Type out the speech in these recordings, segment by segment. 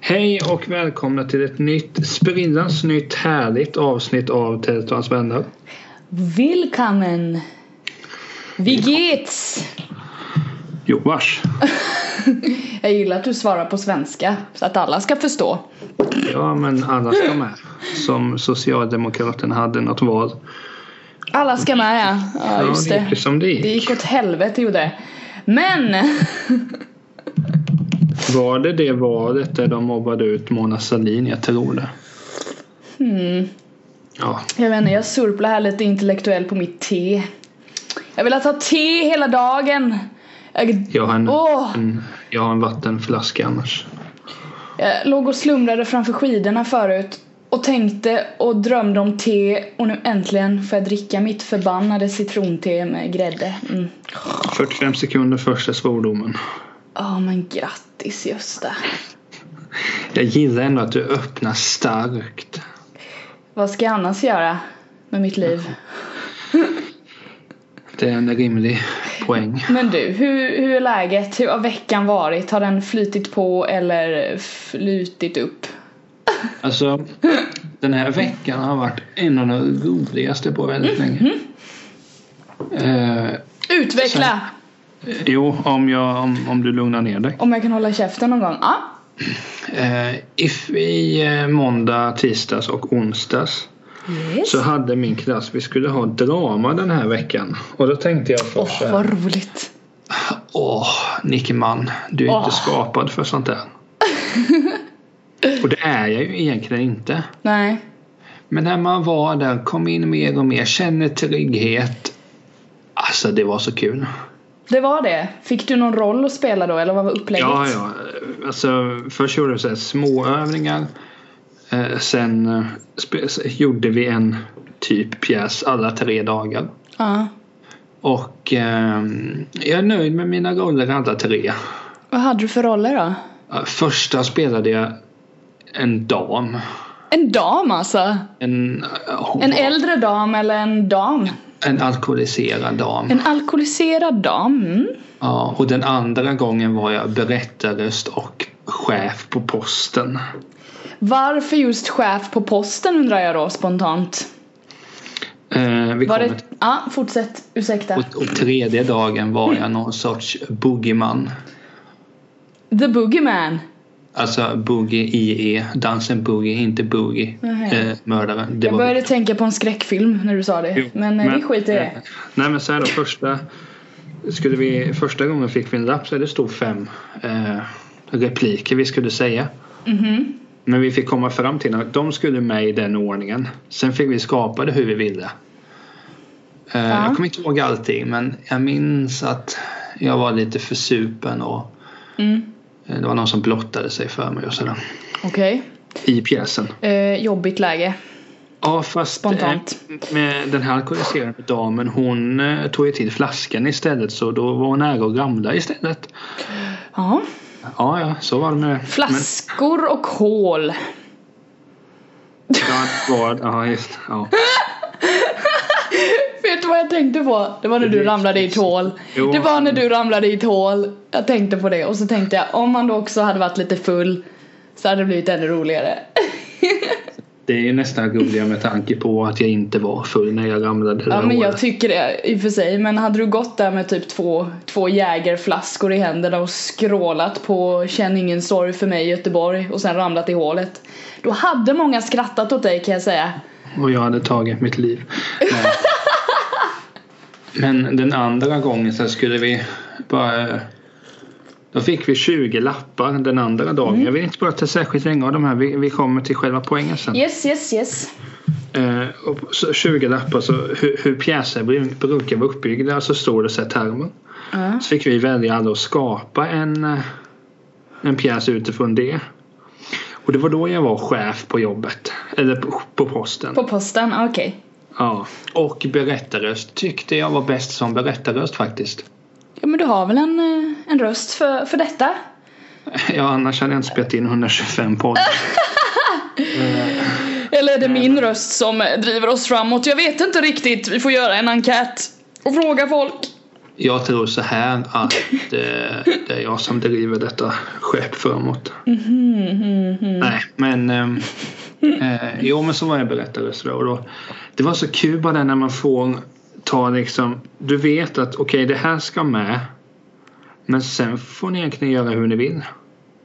Hej och välkomna till ett nytt, sprillans nytt härligt avsnitt av Tält och hans vänner. Willkommen! Wie geht's? Jo, vars. Jag gillar att du svarar på svenska så att alla ska förstå. Ja, men alla ska med. Som Socialdemokraterna hade något val. Alla ska med ja. Ja, just ja, det gick ju det. som det Det gick. gick åt helvete gjorde det. Men! Var det det valet där de mobbade ut Mona Sahlin? Jag tror det. Hmm. Ja, Jag vet inte, jag surplar här lite intellektuell på mitt te. Jag vill ha te hela dagen. Jag, jag har en, Åh! en, jag har en vattenflaska annars. jag låg och slumrade framför skidorna förut och tänkte och drömde om te och nu äntligen får jag dricka mitt förbannade citronte med grädde. Mm. 45 sekunder första svordomen. Ja men grattis Gösta. Jag gillar ändå att du öppnar starkt. Vad ska jag annars göra med mitt liv? Det är en rimlig poäng. Men du, hur, hur är läget? Hur har veckan varit? Har den flytit på eller flutit upp? Alltså, den här veckan har varit en av de roligaste på väldigt länge. Eh, Utveckla! jo, om, jag, om, om du lugnar ner dig. Om jag kan hålla käften någon gång. Ja, Eh, if, I eh, måndag, tisdags och onsdags Yes. så hade min klass, vi skulle ha drama den här veckan. Och då tänkte jag först Åh, så här, vad roligt. Åh, Nickeman, du är Åh. inte skapad för sånt där. och det är jag ju egentligen inte. Nej. Men när man var där, kom in mer och mer, känner trygghet. Alltså det var så kul. Det var det. Fick du någon roll att spela då eller vad var upplägget? Ja, ja. Alltså, först gjorde vi så här småövningar. Eh, sen eh, spe- s- gjorde vi en typ pjäs alla tre dagar. Ja. Och ehm, jag är nöjd med mina roller alla tre. Vad hade du för roller då? Eh, Första spelade jag en dam. En dam alltså? En, eh, hon En var äldre dam eller en dam? en alkoholiserad dam. En alkoholiserad dam? Mm. Ja, och den andra gången var jag berättarröst och chef på posten. Varför just chef på posten undrar jag då spontant? Eh, vi Var kommer det... Ja, fortsätt. Ursäkta. Och, och tredje dagen var jag någon sorts boogieman. The Boogeyman. Alltså boogie IE, dansen boogie, inte boogie Nähä. eh, mördaren. Det Jag började tänka på en skräckfilm när du sa det. Jo, men, men vi skiter i eh, det. Nej men så här då, första, skulle vi, första gången fick vi en lapp så det stod fem eh, repliker vi skulle säga. Mhm, Men vi fick komma fram till att de skulle med i den ordningen. Sen fick vi skapa det hur vi ville. Eh, Ja. Jag kommer inte ihåg allting men jag minns att jag var lite försupen och Mm. eh, det var någon som blottade sig för mig och sådär. Okej. I pjäsen. Eh, jobbigt läge. Ja fast Spontant. eh, med den här alkoholiserade damen hon eh, tog ju till flaskan istället så då var hon nära att ramla istället. Ja. Ja ja, så var det med det. Flaskor och hål. Men, ja, det var, ja, just, ja. Vet du vad jag tänkte på? Det var när Det du är- ramlade i ett hål. Jo. Det var när du ramlade i ett hål. Jag tänkte på det och så tänkte jag om man då också hade varit lite full så hade det blivit ännu roligare. Det är ju nästan roligare med tanke på att jag inte var full när jag ramlade det Ja där men jag året. tycker det i och för sig. Men hade du gått där med typ två, två jägerflaskor i händerna och skrålat på Känn ingen sorg för mig i Göteborg och sen ramlat i hålet. Då hade många skrattat åt dig kan jag säga. Och jag hade tagit mitt liv. Nej. Men den andra gången så skulle vi bara... Då fick vi 20 lappar den andra dagen. Jag vill inte prata särskilt länge av de här. Vi, vi kommer till själva poängen sen. Yes yes yes. Eh, och så 20 lappar, så hur, hur pjäser bru- brukar vara uppbyggda så står det så här termer. Ja. Så fick vi välja alla att skapa en, eh, en pjäs utifrån det. Och det var då jag var chef på jobbet. Eller på, på posten. På posten, ah, okej. Ja. Och berättarröst tyckte jag var bäst som berättarröst faktiskt. Ja men du har väl en, eh, en röst för, för detta. Ja, annars hade jag inte spelat in 125 poddar. Eller är det min röst som eh, driver oss framåt? Jag vet inte riktigt. Vi får göra en enkät och fråga folk. Jag tror så här att eh, det är jag som driver detta skepp framåt. Nej, men ehm, eh, jo, men så var jag berättade så och då, Det var så kul bara det när man får ta liksom. Du vet att okej, det här ska med. Men sen får ni egentligen göra hur ni vill.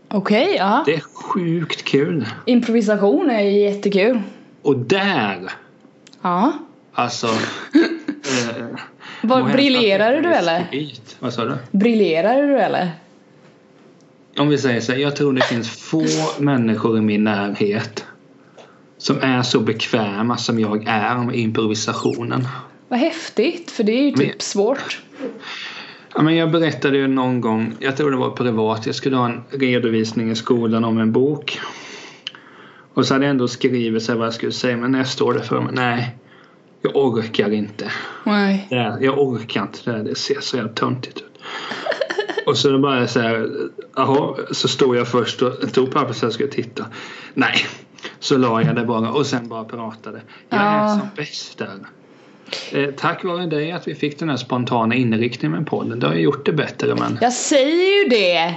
Okej, ja. Det är sjukt kul. Improvisation är jättekul. Och där, Ja. alltså. Eh, Var, må briljerade hända du att det är eller? skit. Vad sa du? Briljerade du eller? Om vi säger så här, jag tror det finns få människor i min närhet som är så bekväma som jag är med improvisationen. Vad häftigt, för det är ju typ Men- svårt. Ja, men jag berättade ju någon gång, jag tror det var privat, jag skulle ha en redovisning i skolan om en bok. Och så hade jag ändå skrivit så här vad jag skulle säga, men när jag står där för mig, nej, jag orkar inte. Nej. det här, jag orkar inte det här, det ser så jävla töntigt ut. Och så då bara så här, jaha, så stod jag först och tog pappret så jag skulle titta. Nej, så la jag det bara och sen bara pratade. Jag är Ja. som bäst där. Eh, tack vare dig att vi fick den här spontana inriktningen med podden. Det har ju gjort det bättre men. Jag säger ju det!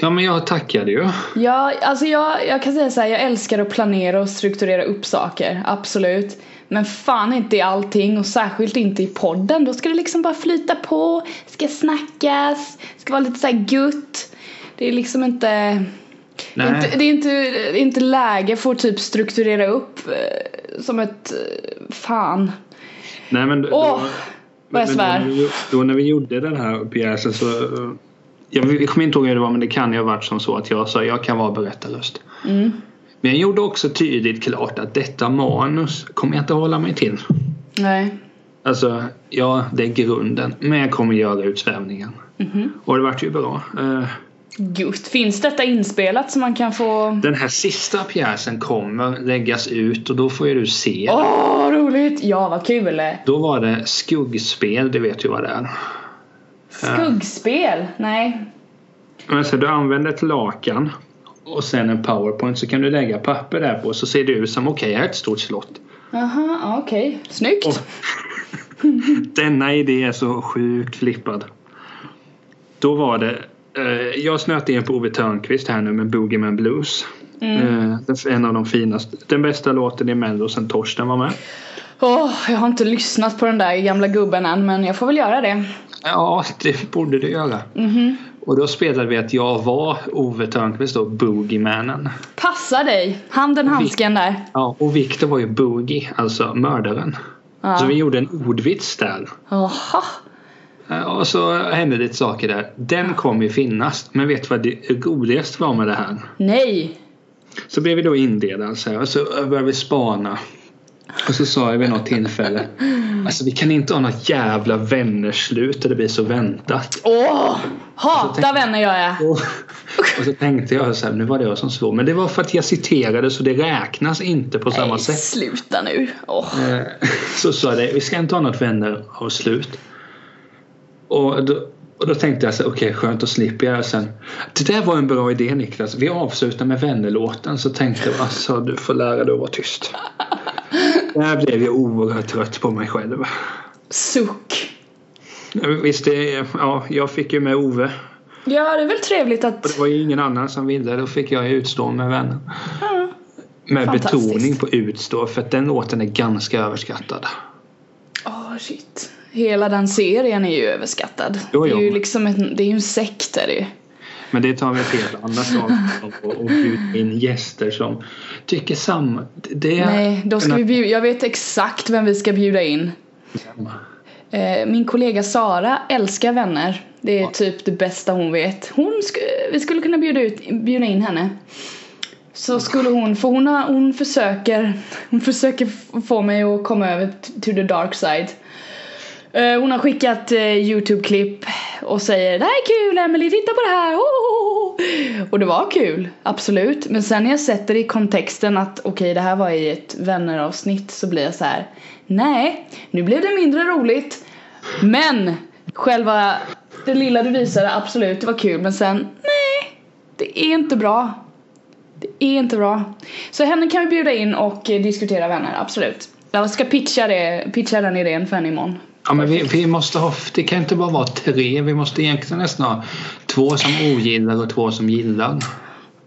Ja men jag tackade ju. Ja, alltså jag, jag kan säga så här, jag älskar att planera och strukturera upp saker, absolut. Men fan inte i allting och särskilt inte i podden. Då ska det liksom bara flyta på, ska snackas, ska vara lite så här gutt. Det är liksom inte... Nej. Inte, det är inte, det är inte läge för att typ strukturera upp eh, som ett... eh, Fan. Nej men. då- Åh, vad jag men då svär. när vi- Då när vi gjorde den här pjäsen så. eh, Jag kommer inte ihåg hur det var men det kan ju ha varit som så att jag sa jag kan vara berättarröst. Mm. Men jag gjorde också tydligt klart att detta manus kommer jag inte hålla mig till. Nej. Alltså, ja, det är grunden. Men jag kommer göra utsvävningen. Mm-hmm. Och det vart ju bra. Eh, Just, finns detta inspelat så man kan få... Den här sista pjäsen kommer läggas ut och då får ju du se. Åh, roligt! Ja, vad kul! Då var det skuggspel, det vet ju vad det är. Skuggspel? Nej. Men så du använder ett lakan och sen en powerpoint så kan du lägga papper där på så ser det ut som okej, här är ett stort slott. Aha, ja, okej. Snyggt! Och- Denna idé är så sjukt flippad. Då var det, eh, jag snöt in på Ove Thörnqvist här nu med Boogieman Blues. Eh, det är en av de finaste, den bästa låten i Mello sen Torsten var med. Åh, jag har inte lyssnat på den där gamla gubben än men jag får väl göra det. Ja, det borde du göra. Och då spelade vi att jag var Ove Thörnqvist då, Boogiemannen. Passa dig! Handen, handsken där. Ja, och Viktor var ju Boogie, alltså mördaren. Ja. Så vi gjorde en ordvits där. Jaha. Eh, Och så hände lite saker där. Den kommer ju finnas. Men vet du vad det roligaste var med det här? Nej. Så blev vi då indelade så här, och så började vi spana. Och så sa jag vid något tillfälle. Alltså vi kan inte ha något jävla vännerslut där det blir så väntat. Åh! så hata tänk- vänner gör jag. Och, och så tänkte jag så här, nu var det jag som svor. Men det var för att jag citerade så det räknas inte på samma Nej, sätt. sluta nu. Åh. Eh, Så sa jag det, vi ska inte ha något vänner och slut. Och då, och då tänkte jag så här, okej skönt att slipper jag sen. Det där var en bra idé Niklas, vi avslutar med vännerlåten. Så tänkte jag, alltså du får lära dig att vara tyst. Där blev jag oerhört trött på mig själv. Suck. Visst, det, ja, jag fick ju med Ove. Ja, det är väl trevligt Och att... det var ju ingen annan som ville, då fick jag ju utstå med vänner. Ja. Med Fantastiskt. betoning på utstå, för att den låten är ganska överskattad. Åh, shit. Hela den serien är ju överskattad. Jo, Det är jo. ju liksom en, det är ju en sekt är det ju. Men det tar vi ett helt annat avsnitt om och, och bjuda in gäster som tycker samma. Det är Nej, då ska vi bjuda, jag vet exakt vem vi ska bjuda in. Eh, Min kollega Sara älskar vänner. Det är typ det bästa hon vet. Hon sk- vi skulle kunna bjuda, ut, bjuda in henne. Så skulle hon, för hon, har, hon försöker Hon försöker f- få mig att komma över t- to the dark side. Eh, Hon har skickat eh, Youtube-klipp och säger Det här är kul Emily, titta på det här! Oh, oh, oh." Och det var kul, absolut. Men sen när jag sätter det i kontexten att okej det här var i ett vänneravsnitt så blir jag så här Nej, nu blev det mindre roligt. Men själva Det lilla du visade, absolut, det var kul. Men sen, nej, det är inte bra. Det är inte bra. Så henne kan vi bjuda in och eh, diskutera vänner, absolut. Jag ska pitcha, det, pitcha den idén för henne imorgon. Ja, men vi, vi måste ha, det kan inte bara vara tre. Vi måste egentligen nästan ha två som ogillar och två som gillar.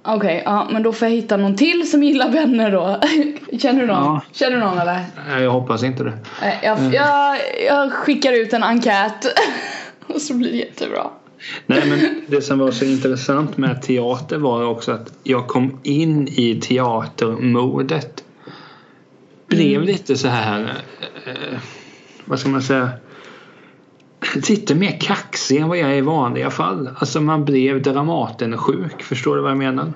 Okej, ja, men då får jag hitta någon till som gillar vänner då. Känner du någon? Ja. Mm. Känner du någon eller? Nej, Jag hoppas inte det. Nej, Jag, jag, jag skickar ut en enkät och så blir det jättebra. Nej, men det som var så intressant med teater var också att jag kom in i teatermodet. Blev Mm. lite så här, eh, vad ska man säga, lite mer kaxig än vad jag är i vanliga fall. Alltså man blev Dramaten-sjuk, förstår du vad jag menar?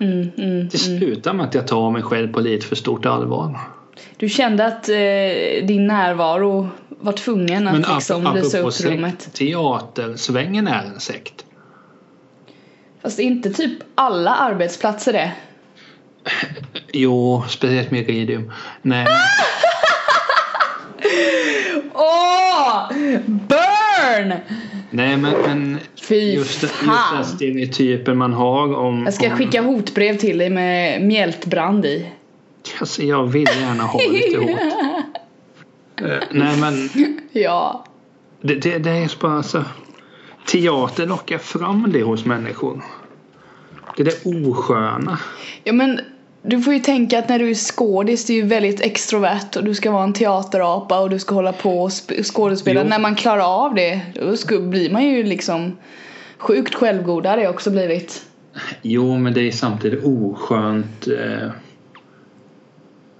Mm, mm. Det slutar med att jag tar mig själv på lite för stort allvar. Du kände att eh, din närvaro var tvungen att Men liksom ap- lysa apropå upp rummet. sekt, teatersvängen är en sekt. Fast inte typ alla arbetsplatser det. Jo, speciellt Meridium. Nej, Åh! Burn! nej men, men Fy just, Mm. just fan! den stereotypen man har om... jag ska om skicka hotbrev till dig med mjältbrand i. alltså, jag vill gärna ha lite hårt. Eh, nej men Ja. det, det, det är bara så. Teater lockar fram det hos människor. Det där osköna. Ja men du får ju tänka att när du är skådis, det är ju väldigt extrovert och du ska vara en teaterapa och du ska hålla på och sp- skådespela. Jo. När man klarar av det, då sku- blir man ju liksom sjukt självgod. Det har jag också blivit. Jo, men det är samtidigt oskönt. Eh,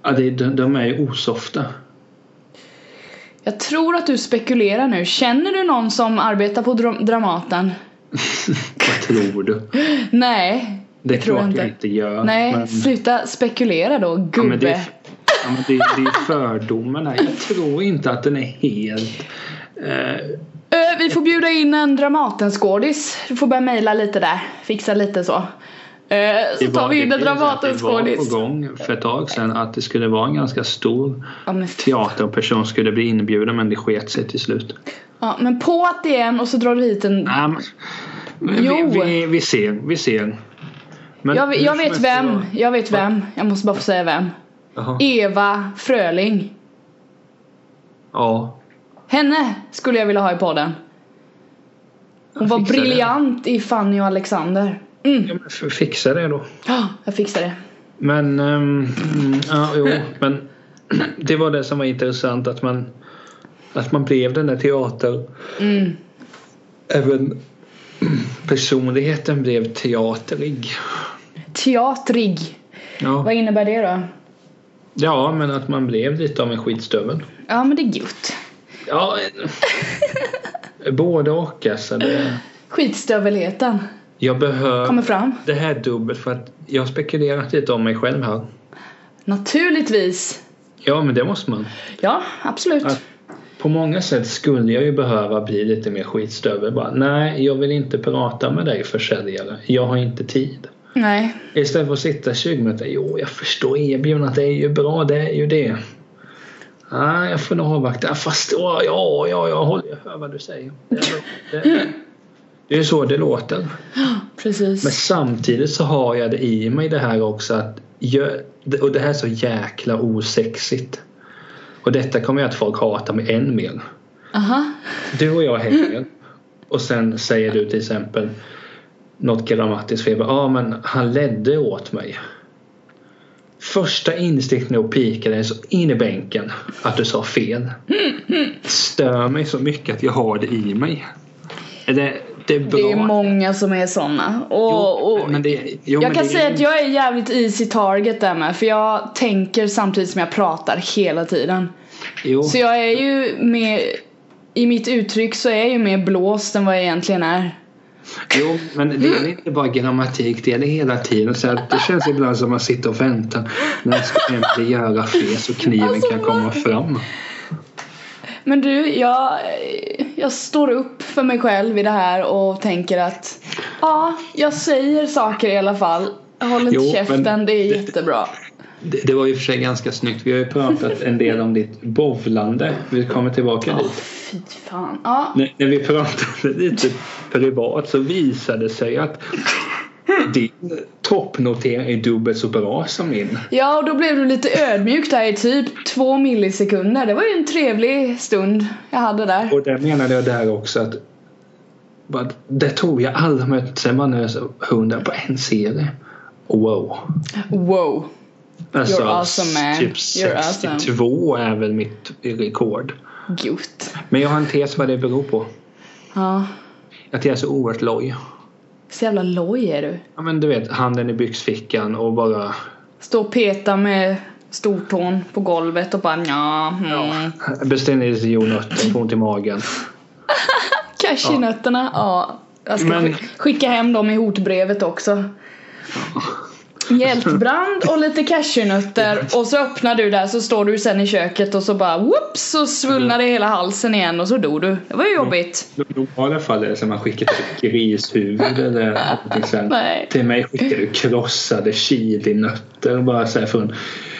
ja, det, de, de är ju osofta. Jag tror att du spekulerar nu. Känner du någon som arbetar på dra- Dramaten? Vad tror du? Nej. Det är tror klart jag jag inte, inte. gör. Nej, men, sluta spekulera då ja, gubbe. men det, är, ja, men det, är- det är fördomarna. Jag tror inte att den är helt... Eh, Ö, Vi får bjuda in en Dramatenskådis. Du får börja mejla lite där. Fixa lite så. Ö, Så tar vi in en det- Det var Dramatenskådis. på gång för ett tag sedan att det skulle vara en ganska stor Ja men, teaterperson skulle bli inbjuden men det sket sig till slut. ja, men på att det är en och så drar du hit en. Nej, men, vi, Jo. vi, vi, vi ser, vi ser. Men Jag, jag hur som vet helst vem. så- Jag vet vem. Jag måste bara få säga vem. Jaha. Eva Fröling. Ja. Henne skulle jag vilja ha i podden. Hon var fixar det. briljant i Fanny och Alexander. Ja, men f- fixa det då. Ja, jag fixar det. Men, ehm, mm, ja, jo, men det var det som var intressant att man, att man blev den där teater... Mm. Även personligheten blev teaterig. Teatrig. Ja. Vad innebär det då? ja, men att man blev lite av en skitstövel. Ja men det är gott. Ja, eh, både och alltså. Det, Skitstövelheten jag kommer behöver fram. det här dubbelt för att jag har spekulerat lite om mig själv här. Naturligtvis. Ja, men det måste man. Ja, absolut. Att- På många sätt skulle jag ju behöva bli lite mer skitstövel. Bara, nej, jag vill inte prata med dig försäljare. Jag har inte tid. Nej. Istället för att sitta 20 minuter. Jo, jag förstår erbjudandet. Det är ju bra. Det är ju det. Nej, jag får nog avvakta. Ja, Fast ja, ja, ja, jag håller. Jag hör vad du säger. Det är, det, det är ju så det låter. Precis. Men samtidigt så har jag det i mig det här också att jag, och det här är så jäkla osexigt. Och detta kommer ju att folk hatar mig än mer. Aha. Du och jag hänger och sen säger du till exempel något grammatiskt fel. Ja, men han ledde åt mig. Första instinkten är att pika dig så in i bänken att du sa fel. Stör mig så mycket att jag har det i mig. Det, det är bra. Det är många som är såna. Och, Jo, och men det, jo, men jag kan det, säga att jag är jävligt easy target där med. För jag tänker samtidigt som jag pratar hela tiden. Oh. Jo. Så jag är ju mer... I mitt uttryck så är jag ju mer blåst än vad jag egentligen är. Jo, men det är inte bara grammatik, det är det hela tiden. Så att det känns ibland som att man sitter och väntar. När ska jag inte göra fel så kniven Alltså, kan komma fram? Men du, jag, jag står upp för mig själv i det här och tänker att ja, jag säger saker i alla fall. Jag håller Jo, inte käften, men det är det- jättebra. Det, det var ju för sig ganska snyggt. Vi har ju pratat en del om ditt bovlande. Vi kommer tillbaka Ja, dit. fy fan. Ja, När, när vi pratade lite privat så visade det sig att din toppnotering är dubbelt så bra som min. ja och då blev du lite ödmjuk där i typ två millisekunder. Det var ju en trevlig stund jag hade där. Och där menade jag där också att bara, det tog jag alla möten man är så 100 på en serie. Wow. Wow. Alltså, You're awesome, man. Typ You're 62 är väl mitt rekord. Gott. Men jag har en tes vad det beror på. Ja. Att jag är så oerhört loj. Så jävla loj är du. Ja men du vet, handen i byxfickan och bara... Stå och peta med stortån på golvet och bara nja, mm. Beställde jordnötter, får ont i magen. Cashewnötterna, ja. Jag ska Men- skick- skicka hem dem i hotbrevet också. Mjältbrand och lite cashewnötter och så öppnar du där så står du sen i köket och så bara whoops så svullnade hela halsen igen och så dog du. Det var ju jobbigt. I normala fall är det som man skickar ett grishuvud eller någonting sånt. Nej. Till mig skickar du krossade chilinötter bara så här från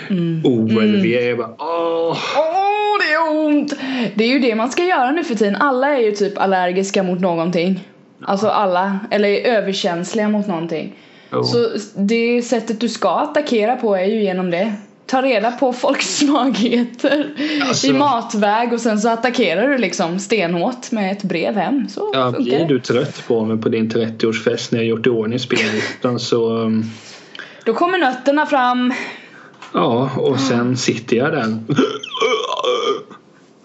Mm. OLV. Jag bara åh! Åh, det är ont! Det är ju det man ska göra nu för tiden. Alla är ju typ allergiska mot någonting. Alltså alla, eller är överkänsliga mot någonting. Oh. Så det sättet du ska attackera på är ju genom det. Ta reda på folks svagheter i Alltså- matväg och sen så attackerar du liksom stenhårt med ett brev hem. Så Ja, funkar blir det. du trött på mig på din 30-årsfest när jag gjort i ordning spellistan så um, Då kommer nötterna fram ja, och Ah. sen sitter jag där.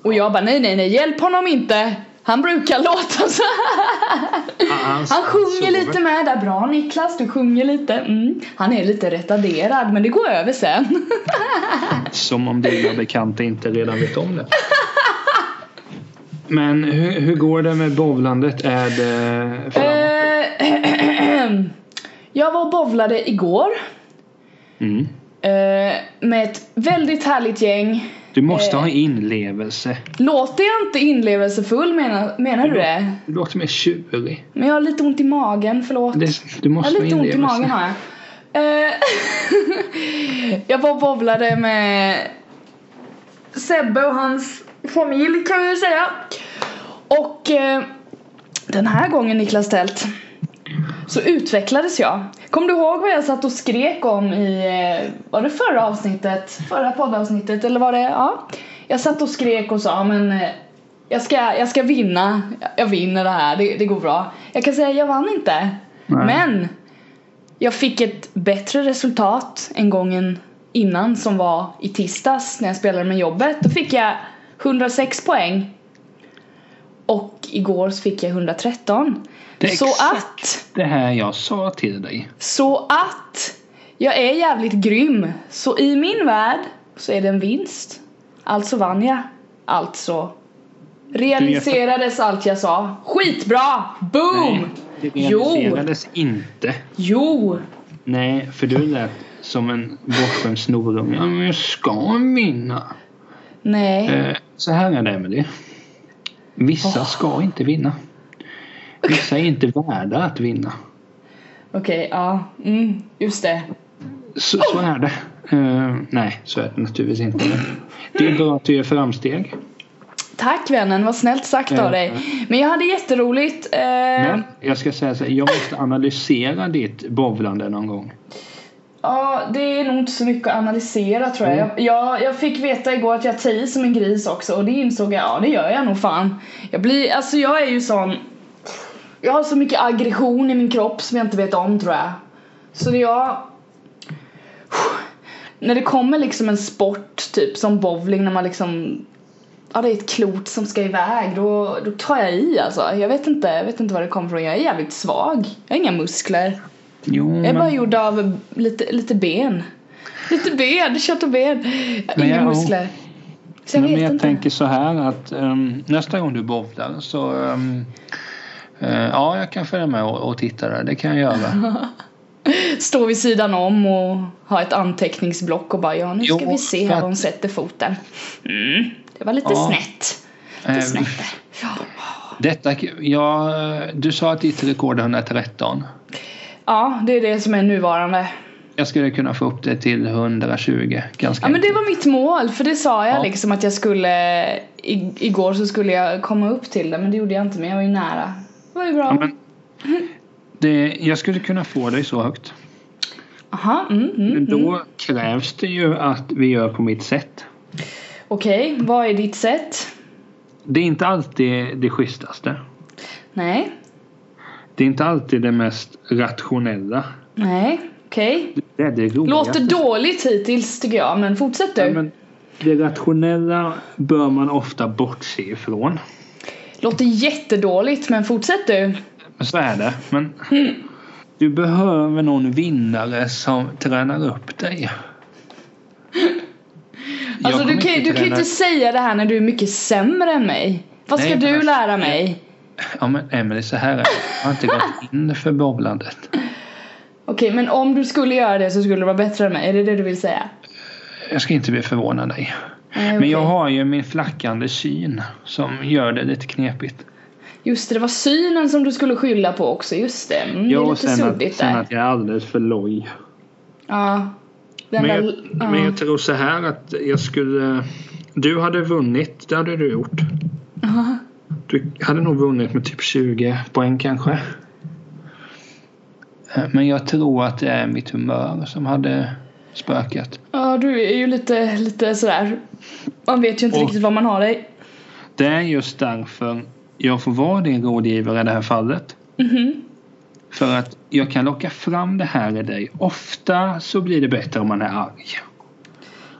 och jag bara nej nej nej hjälp honom inte. Han brukar låta så här. Han sjunger lite med där. Bra Niklas, du sjunger lite. Mm. Han är lite retarderad men det går över sen. Som om dina bekanta inte redan vet om det. Men hur, hur går det med bowlandet? Är det framåt? Eh, jag var och bowlade igår Mm. eh, med ett väldigt härligt gäng. Du eh. måste ha inlevelse. Låter jag inte inlevelsefull menar, menar du det? Du låter mer tjurig. Men jag har lite ont i magen, förlåt. Det, du Jag måste har ha lite ont i inlevelse. magen har jag. Eh, jag var och bowlade med Sebbe och hans familj kan vi ju säga. Och eh, den här gången Niklas Tält så utvecklades jag. Kommer du ihåg vad jag satt och skrek om i, eh, var det förra avsnittet? Förra poddavsnittet eller var det, ja. Jag satt och skrek och sa men eh, jag ska, jag ska vinna, jag vinner det här, det, det går bra. Jag kan säga jag vann inte. Nej. Men jag fick ett bättre resultat än gången innan som var i tisdags när jag spelade med jobbet. Då fick jag 106 poäng. Och igår så fick jag 113. Det är Så exakt. att Det här jag sa till dig. så att jag är jävligt grym. Så i min värld så är det en vinst. Alltså vann jag. Alltså realiserades allt jag sa. Skitbra! Boom! Nej, det Jo. realiserades inte. Jo! Nej, för du lät som en bortskämd snorunge. Ja, men jag ska vinna. Nej. Eh, så här är det, Emily. Vissa ska inte vinna. Vissa är inte värda att vinna. Okej, ja. Mm, just det. Så, så är det. Eh, nej, så är det naturligtvis inte. Men det är bra att du gör framsteg. Tack vännen, vad snällt sagt av Mm. dig. Men jag hade jätteroligt. Eh, Men jag ska säga så här, jag måste analysera ditt bowlande någon gång. Ja, det är nog inte så mycket att analysera tror jag. Jag, jag. jag fick veta igår att jag tar som en gris också och det insåg jag, ja det gör jag nog fan. Jag blir, alltså jag är ju sån, jag har så mycket aggression i min kropp som jag inte vet om tror jag. Så det jag, när det kommer liksom en sport typ som bowling när man liksom Ja det är ett klot som ska iväg, då, då tar jag i alltså. Jag vet inte, jag vet inte var det kommer ifrån. Jag är jävligt svag. Jag har inga muskler. Jo, Jag är bara men, gjord av lite, lite ben. Lite ben, kött och ben. Men Inga jag- muskler. Så jag men vet jag inte. tänker så här att ehm, nästa gång du bowlar så ehm, eh, ja, jag kan följa med och, och titta där. Det kan jag göra. Stå vid sidan om och ha ett anteckningsblock och bara ja nu ska Jo, vi se för här att- var hon sätter foten. Mm, det var lite Ja. snett. Lite Eh, snett där. Ja. Detta, ja, du sa att ditt rekord är 113. ja, det är det som är nuvarande. jag skulle kunna få upp det till 120 ganska Ja men det var mitt mål för det sa jag liksom att jag skulle i, Igår så skulle jag komma upp till det men det gjorde jag inte men jag var ju nära Det var ju bra Ja, men det, jag skulle kunna få dig så högt. Aha, mm, mm. Men då krävs det ju att vi gör på mitt sätt. Okej, vad är ditt sätt? Det är inte alltid det schysstaste. Nej, Det är inte alltid det mest rationella. nej, okej Det är det roligaste. Låter dåligt hittills tycker jag men fortsätt du Ja, men det rationella bör man ofta bortse ifrån. Låter jättedåligt men fortsätt du Men så är det. Men du behöver någon vinnare som tränar upp dig. Jag Alltså du kommer kan, ju- du kan ju träna- inte säga det här när du är mycket sämre än mig Vad Nej, ska men du alltså- lära mig? Ja men Emelie, så här är det. Jag har inte gått in för bowlandet. Okej men om du skulle göra det så skulle du vara bättre än mig, är det det du vill säga? Jag ska inte bli förvånad dig. Nej, Men jag okej. har ju min flackande syn som gör det lite knepigt. Just det, det var synen som du skulle skylla på också, just det. Mm, det är Ja, och lite sen att, suddigt där. sen att jag är alldeles för loj. Ja. Den Men jag, där, ja. men jag tror så här att jag skulle... Du hade vunnit, det hade du gjort. Ja. Du hade nog vunnit med typ 20 poäng kanske. Eh, Men jag tror att det är mitt humör som hade spökat. ja, du är ju lite, lite sådär. Man vet ju inte Och- riktigt vad man har dig. Det är just därför jag får vara din rådgivare i det här fallet. Mhm. För att jag kan locka fram det här i dig. Ofta så blir det bättre om man är arg.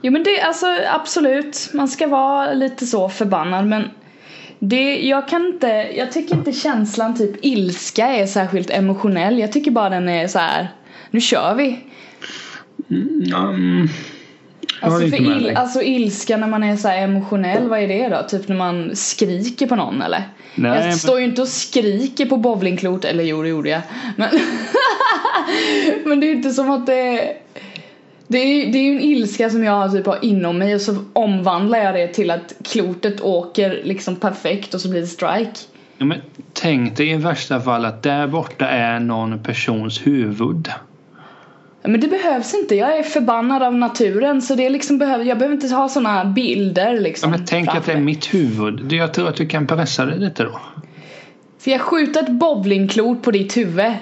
Jo men det, alltså absolut. Man ska vara lite så förbannad men det, jag kan inte, jag tycker inte känslan typ ilska är särskilt emotionell. Jag tycker bara den är så här. nu kör vi. Mm. Jag håller Alltså, för inte med il- dig. alltså ilska när man är så här emotionell, vad är det då? Typ när man skriker på någon eller? Nej, jag men- står ju inte och skriker på bowlingklot, eller jo det gjorde jag. Men, men det är ju inte som att det det är, ju- det är ju en ilska som jag typ har inom mig och så omvandlar jag det till att klotet åker liksom perfekt och så blir det strike. Ja, men tänk dig i värsta fall att där borta är någon persons huvud. Men det behövs inte, jag är förbannad av naturen så det är liksom behöver, jag behöver inte ha såna bilder Ja, liksom. men tänk att det är framför. mitt huvud. Jag tror att du kan pressa det lite då. Ska jag skjuta ett bowlingklot på ditt huvud?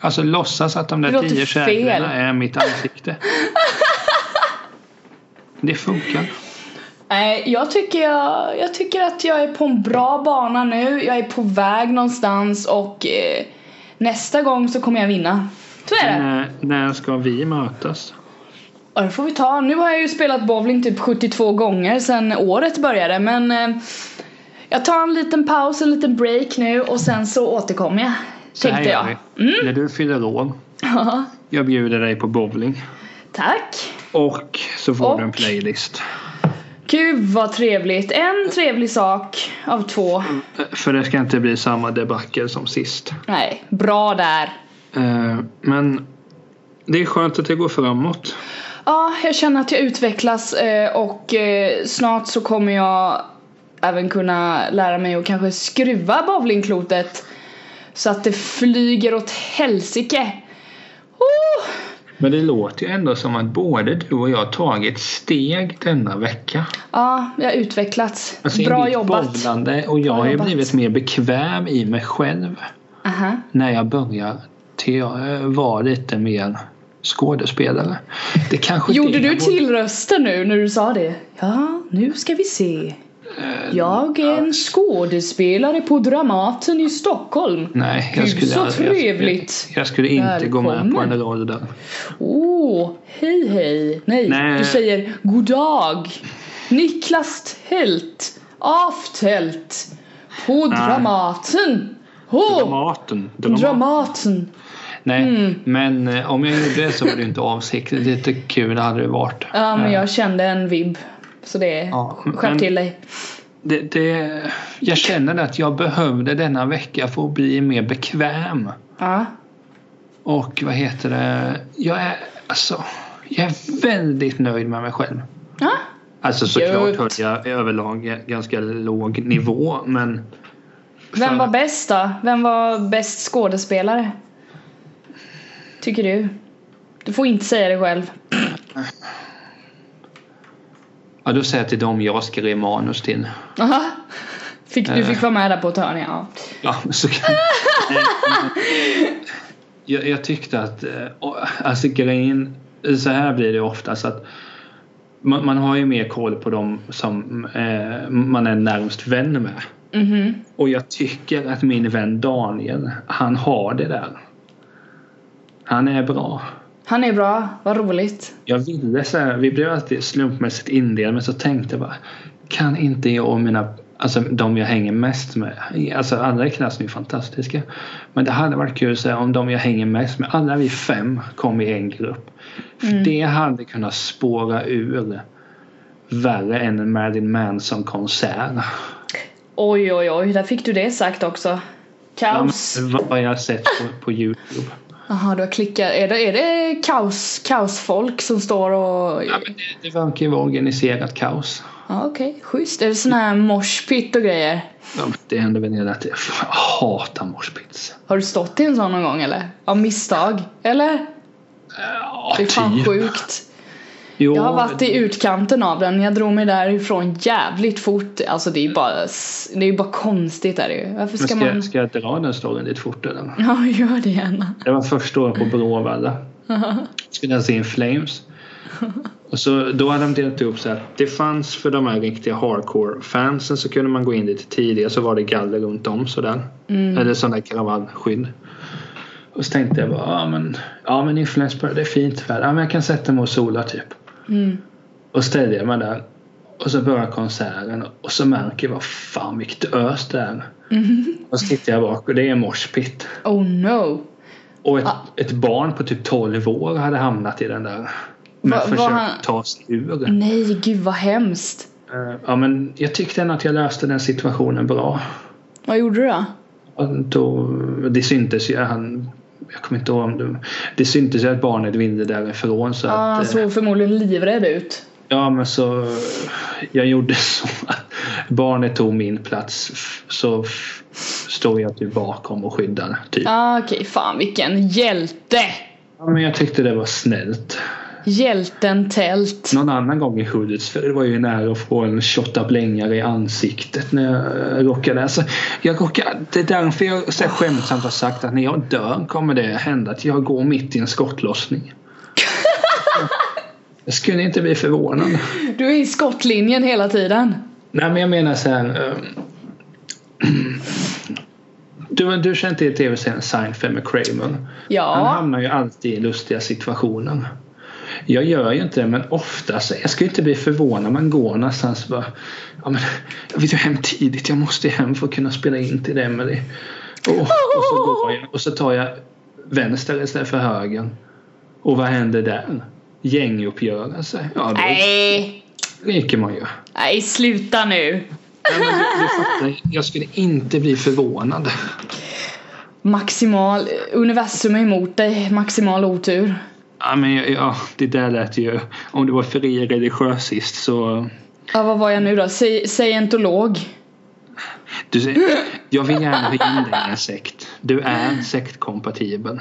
Alltså låtsas att de Det där låter tio käglorna fel. är mitt ansikte. Det funkar. Nej, jag tycker, jag, jag tycker att jag är på en bra bana nu. Jag är på väg någonstans och eh, nästa gång så kommer jag vinna. Så är det. När, eh, när ska vi mötas? Och det får vi ta. Nu har jag ju spelat bowling typ 72 gånger sedan året började men eh, jag tar en liten paus, en liten break nu och sen så återkommer jag. Så här tänkte gör jag. Mm. vi. När du fyller år. Ja, Jag bjuder dig på bowling. tack. Och så får Och- du en playlist. Gud vad trevligt. En trevlig sak av två. Eh, För det ska inte bli samma debacle som sist. Nej, bra där. Eh, Men det är skönt att det går framåt. Ja, jag känner att jag utvecklas eh, och eh, snart så kommer jag även kunna lära mig att kanske skruva bowlingklotet så att det flyger åt helsike. Oh! Men det låter ju ändå som att både du och jag har tagit steg denna vecka. Ja, jag har utvecklats. Alltså, Bra mitt jobbat. bowlande och jag har ju jobbat. blivit mer bekväm i mig själv Aha. när jag börjar till att vara lite mer skådespelare. Det kanske Gjorde det du till röster nu när du sa det? Ja, nu ska vi se. Jag är en skådespelare på Dramaten i Stockholm. Nej, jag Gud, skulle, så aldrig- trevligt. Jag, jag skulle inte gå med på Välkommen. en roll där. Åh, oh, hej hej. Nej, Nej. du säger god dag. Niklas Tält, Aftält, på Dramaten. Åh, Dramaten. Dramat. Dramaten. Nej, Mm. men eh, om jag gjorde det så var det inte avsiktligt. Lite kul hade det varit. Ja, men Eh, jag kände en vibb. Så det är, Ja, men- skärp till dig. Det, det, jag känner att jag behövde denna vecka för att bli mer bekväm. Ja. Och vad heter det? Jag är alltså, jag är väldigt nöjd med mig själv. Ja. Alltså såklart Gött. höll jag överlag ganska låg nivå men Vem Fan. var bäst då? Vem var bäst skådespelare? Tycker du? Du får inte säga det själv. Ja, då säger jag till dem jag skrev manus till. Aha. Fick, du fick vara med där på ett hörn, ja. Ja, så kan... jag, jag tyckte att, eh, och- alltså grejen, så här blir det oftast att man, man har ju mer koll på dem som eh, man är närmst vän med. Mhm. Och jag tycker att min vän Daniel, han har det där. Han är bra. Han är bra, vad roligt. Jag ville så här, vi blev alltid slumpmässigt indelade men så tänkte jag bara Kan inte jag och mina, alltså de jag hänger mest med Alltså alla i klassen är ju fantastiska Men det hade varit kul så här, om de jag hänger mest med, alla vi fem kom i en grupp För det hade kunnat spåra ur Värre än en Marilyn Manson-konsert Oj, oj, oj, där fick du det sagt också. Ja, Kaos. men Vad jag har sett på, på Youtube Jaha, du har klickat. Är det, är det kaos, kaosfolk som står och... ja, men det, det verkar ju vara organiserat kaos Ja, okej, schysst. Är det sån här moshpit och grejer? ja, men Det händer väl hela tiden, jag hatar morspits Har du stått i en sån någon gång eller? Av misstag? Eller? Ja, Det är fan typ. sjukt. Jo, Jag har varit i utkanten av den. Jag drog mig därifrån jävligt fort. Alltså det är ju bara, s- det är ju bara konstigt är det ju. men Varför ska ska, man... ska jag dra den storyn lite fort eller? Ja, gör det gärna. Det var första året på Bråvalla. Skulle jag se in Flames. Och så, då hade de delat upp så att det fanns för de här riktiga hardcore fansen så kunde man gå in lite tidigare så var det galler runt om sådär. Eller sån där kravallskydd. Och så tänkte jag bara, ja men, ja, men i Flensburg det är fint väder. Ja men jag kan sätta mig och sola typ. Och ställde jag mig där. Och så börjar konserten och så märker jag vad fan vilket ös det är. Och så tittar jag bak och det är moshpit. Oh no. Och ett, Ah. ett barn på typ 12 år hade hamnat i den där. Men Va- var försökt han- ta sig ur. Nej, gud vad hemskt. Eh, Ja, men jag tyckte ändå att jag löste den situationen bra. Vad gjorde du då? Och då, det syntes ju. Han, jag kommer inte ihåg om det. Det syntes ju att barnet ville därifrån. Så Ja, att, han eh, Ah, såg förmodligen livrädd ut. Ja, men så jag gjorde så att barnet tog min plats f- så f- står jag typ bakom och skyddar. Typ. Ah, Okej, fan vilken hjälte! Ja, men jag tyckte det var snällt. Hjälten Tält. Någon annan gång i Hudiksvall var jag ju nära att få en blängar i ansiktet när jag råkade. Alltså, jag råkade det är därför jag så här skämtsamt har sagt att när jag dör kommer det hända att jag går mitt i en skottlossning. Jag skulle inte bli förvånad. Du är i skottlinjen hela tiden. Nej men jag menar så här. ehm, Du, du känner till tv-serien Seinfeld med Kramer? Han Ja. hamnar ju alltid i lustiga situationer. Jag gör ju inte det men oftast, jag skulle inte bli förvånad om man går någonstans och bara ja, men, Jag vill ju hem tidigt, jag måste ju hem för att kunna spela in till dem. eller- Och, och, så går jag, och så tar jag vänster istället för höger. Och vad händer där? Gänguppgörelse? Ja, då Nej. leker man ju. Nej, sluta nu. Nej, men du, du fattar, jag skulle inte bli förvånad. Maximal... eh, Universum är emot dig. Maximal otur. Ja, men, jag- ja, det där lät ju... Om du var fri religiösist så... Ja, vad var jag nu då? Se- Scientolog. Du, ser- jag vill gärna ha in dig i en sekt. Du är sektkompatibel.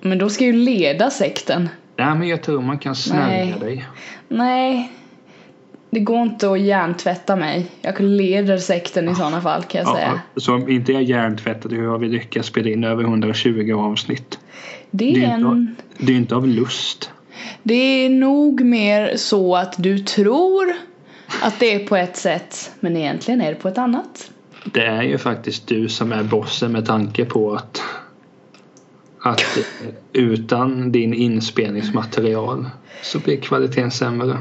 Men då ska ju leda sekten. Nej, men jag tror man kan snärja Nej. dig. Nej. Det går inte att hjärntvätta mig. Jag leder sekten Ah. i sådana fall kan jag säga. så om inte jag är hjärntvättad, hur har vi lyckats spela in över 120 avsnitt? Det Det är är inte, en... det är inte av lust. Det är nog mer så att du tror att det är på ett sätt men egentligen är det på ett annat. Det är ju faktiskt du som är bossen med tanke på att att utan din inspelningsmaterial så blir kvaliteten sämre.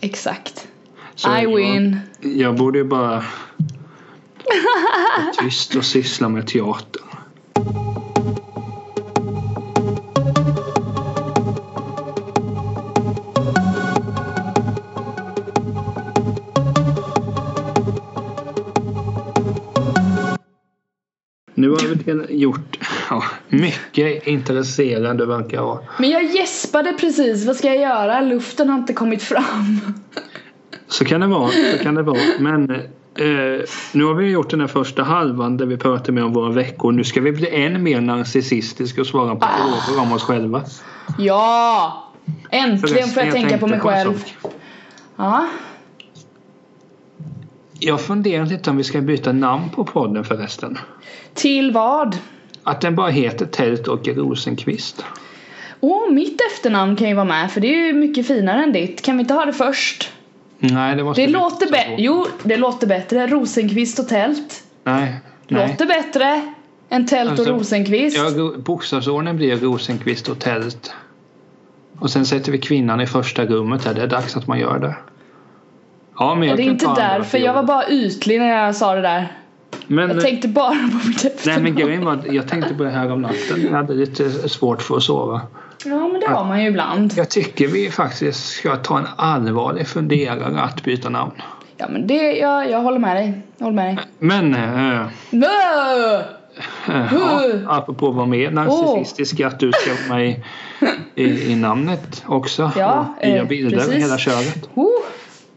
Exakt. Så I jag- win. Jag borde ju bara vara tyst och syssla med teater. Nu har vi del- gjort ja, mycket intresserande verkar jag ha. Men jag gäspade precis, vad ska jag göra? Luften har inte kommit fram. Så kan det vara. Så kan det vara. Men Eh, nu har vi gjort den här första halvan där vi pratar mer om våra veckor. Nu ska vi bli än mer narcissistiska och svara på Ah. frågor om oss själva. Ja! Äntligen får Förresten, jag tänka på tänkte mig en själv. sak. Ja. Jag funderar lite om vi ska byta namn på podden förresten. Till vad? Att den bara heter Tält och Rosenqvist. Åh, mitt efternamn kan ju vara med för det är ju mycket finare än ditt. Kan vi inte ha det först? Nej, det måste Det vi låter inte ta bättre. på. Jo, det låter bättre. Rosenqvist och tält. Nej. nej. Låter bättre än tält Alltså, och rosenqvist. Ja, ro- bokstavsordningen blir Rosenqvist och Tält. Och sen sätter vi kvinnan i första rummet här. Det är dags att man gör det. Ja, men jag det är kan inte ta andra därför. Jag var fioler. bara ytlig när jag sa det där. men, Jag tänkte bara på mitt Nej, efternamn. men grejen var att jag tänkte på det här om natten. Jag hade lite svårt för att sova. Ja, men det har man ju ibland. Jag tycker vi faktiskt ska ta en allvarlig funderare att byta namn. Ja, men det, jag, jag håller med dig. Jag håller med dig. Men, äh, äh, Nö! ja, apropå vad mer narcissistisk att du ska vara med i, i, i namnet också. Ja, och nya eh, bilder precis. hela köret. Oh,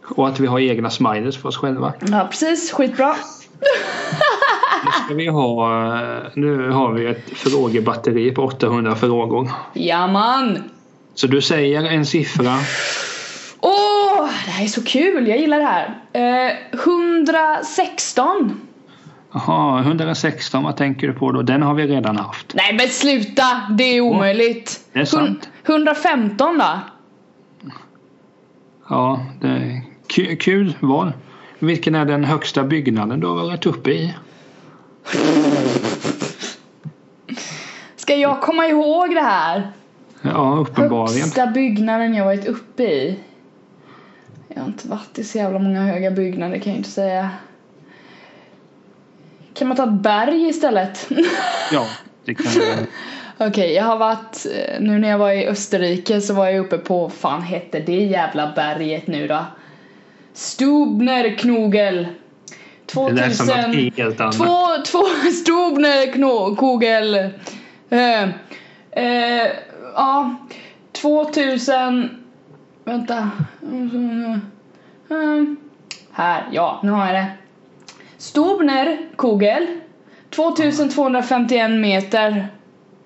Och att vi har egna smileys för oss själva. ja, precis. Skitbra. Ska vi ha, eh, nu har vi ett frågebatteri på 800 frågor. Jaman! Så du säger en siffra. Åh, det här är så kul. Jag gillar det här. Eh, 116. Jaha, 116, vad tänker du på då? Den har vi redan haft. Nej, men sluta! Det är omöjligt. det är sant. Hun- 115 då? Ja, det är ku- kul val. Vilken är den högsta byggnaden du har varit uppe i? Ska jag komma ihåg det här? Ja, uppenbarligen. Högsta byggnaden jag varit uppe i. Jag har inte varit i så jävla många höga byggnader kan jag inte säga. Kan man ta ett berg istället? Ja, det kan du. Okej, jag har varit, eh, nu när jag var i Österrike så var jag uppe på, vad fan hette det jävla berget nu då? Stubnerknogel. Det 2000... lät som något helt annat. Två, två Stubnerknogel. Eh, eh, ja, 2000... Vänta. Eh, här, ja, nu har jag det. Stubnerkogel. 2251 meter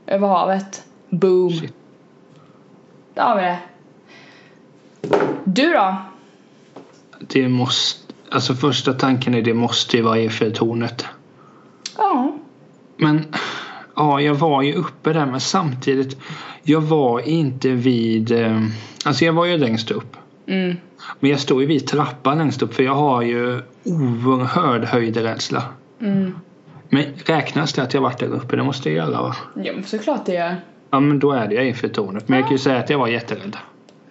över havet. Boom. Shit. Där har vi det. Du då? Det måste, alltså första tanken är det måste ju vara Eiffeltornet. Ja. Men ja, jag var ju uppe där men samtidigt jag var inte vid eh, alltså jag var ju längst upp. Mm. Men jag står ju vid trappan längst upp för jag har ju oerhörd höjdrädsla. Mm. Men räknas det att jag varit där uppe? Det måste jag göra va? Ja, men såklart det gör. Ja men då är det ju Eiffeltornet. Men jag kan ju säga att jag var jätterädd.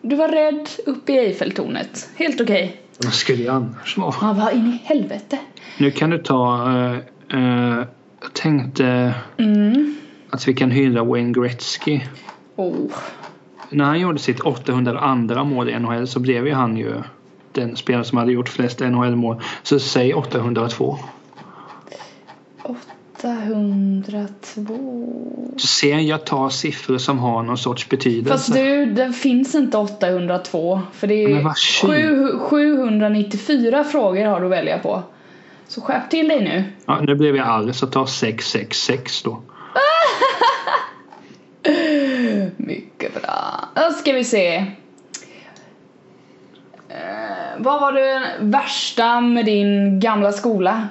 Du var rädd uppe i Eiffeltornet. Helt okej. Vad skulle jag annars vara? Ja, vad in i helvete. Nu kan du ta eh, eh, jag tänkte Mm. att vi kan hylla Wayne Gretzky. Oh. När han gjorde sitt 802 mål i NHL så blev ju han ju den spelare som hade gjort flest NHL-mål. Så säg 802. 802. Du ser, jag tar siffror som har någon sorts betydelse. Fast du, den finns inte 802. För det Men är vad tjur. sju- 794 frågor har du att välja på. Så skärp till dig nu. Ja, nu blev jag arg så ta 666 då. Mycket bra. Då ska vi se. Eh, vad var det värsta med din gamla skola?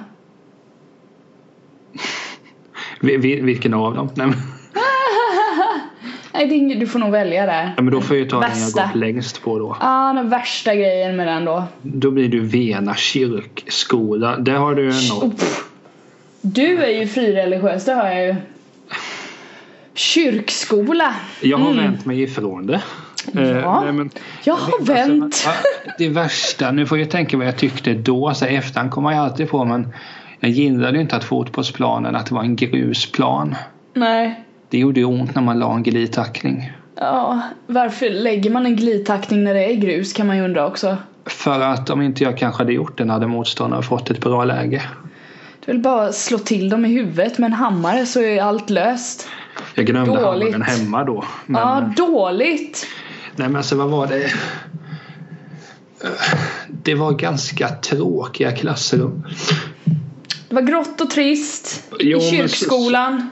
Vi- vi- Vilken av dem? Nej, men, Nej, det är ing- du får nog välja där. ja, men då får jag ju ta den jag Bästa. gått längst på då. Ah, den värsta grejen med den då. Då blir du Vena kyrkskola. Där har du något. Oh, pff. du är ju frireligiös, det hör jag ju. Kyrkskola. Jag har vänt mig ifrån det. Eh, Mm. Ja. nej, men- Jag har vänt. Alltså, ja, det värsta, nu får jag tänka vad jag tyckte då, så här, i efterhand kommer jag alltid på men jag gillade ju inte att fotbollsplanen, att det var en grusplan. Nej. Det gjorde ju ont när man la en glidtackling. Ja, varför lägger man en glidtackning när det är grus kan man ju undra också. För att om inte jag kanske hade gjort den hade motståndaren fått ett bra läge. Du vill bara att slå till dem i huvudet med en hammare så är allt löst. Jag glömde Dåligt. hammaren hemma då. Men, Ja, dåligt. Nej men alltså vad var det? det var ganska tråkiga klassrum. Det var grått och trist Jo, i men så- kyrkskolan.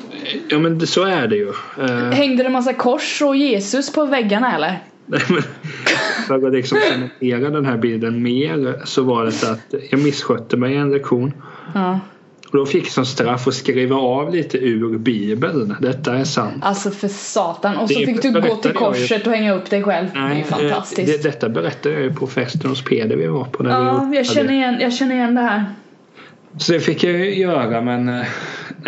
Ja men det- så är det ju. Eh, Hängde det en massa kors och Jesus på väggarna eller? Nej, men för att liksom cementera den här bilden mer så var det så att jag misskötte mig i en lektion. Ja. Och då fick jag som straff att skriva av lite ur bibeln. Detta är sant. Alltså för satan. Och så Det fick du gå berättade till jag ju. korset och hänga upp dig själv. det är ju Nej, eh, fantastiskt. det, detta berättade jag ju på festen hos Peder vi var på. När vi ja, gjorde jag känner, det. igen, jag känner igen det här. Så det fick jag ju göra men, eh, nej,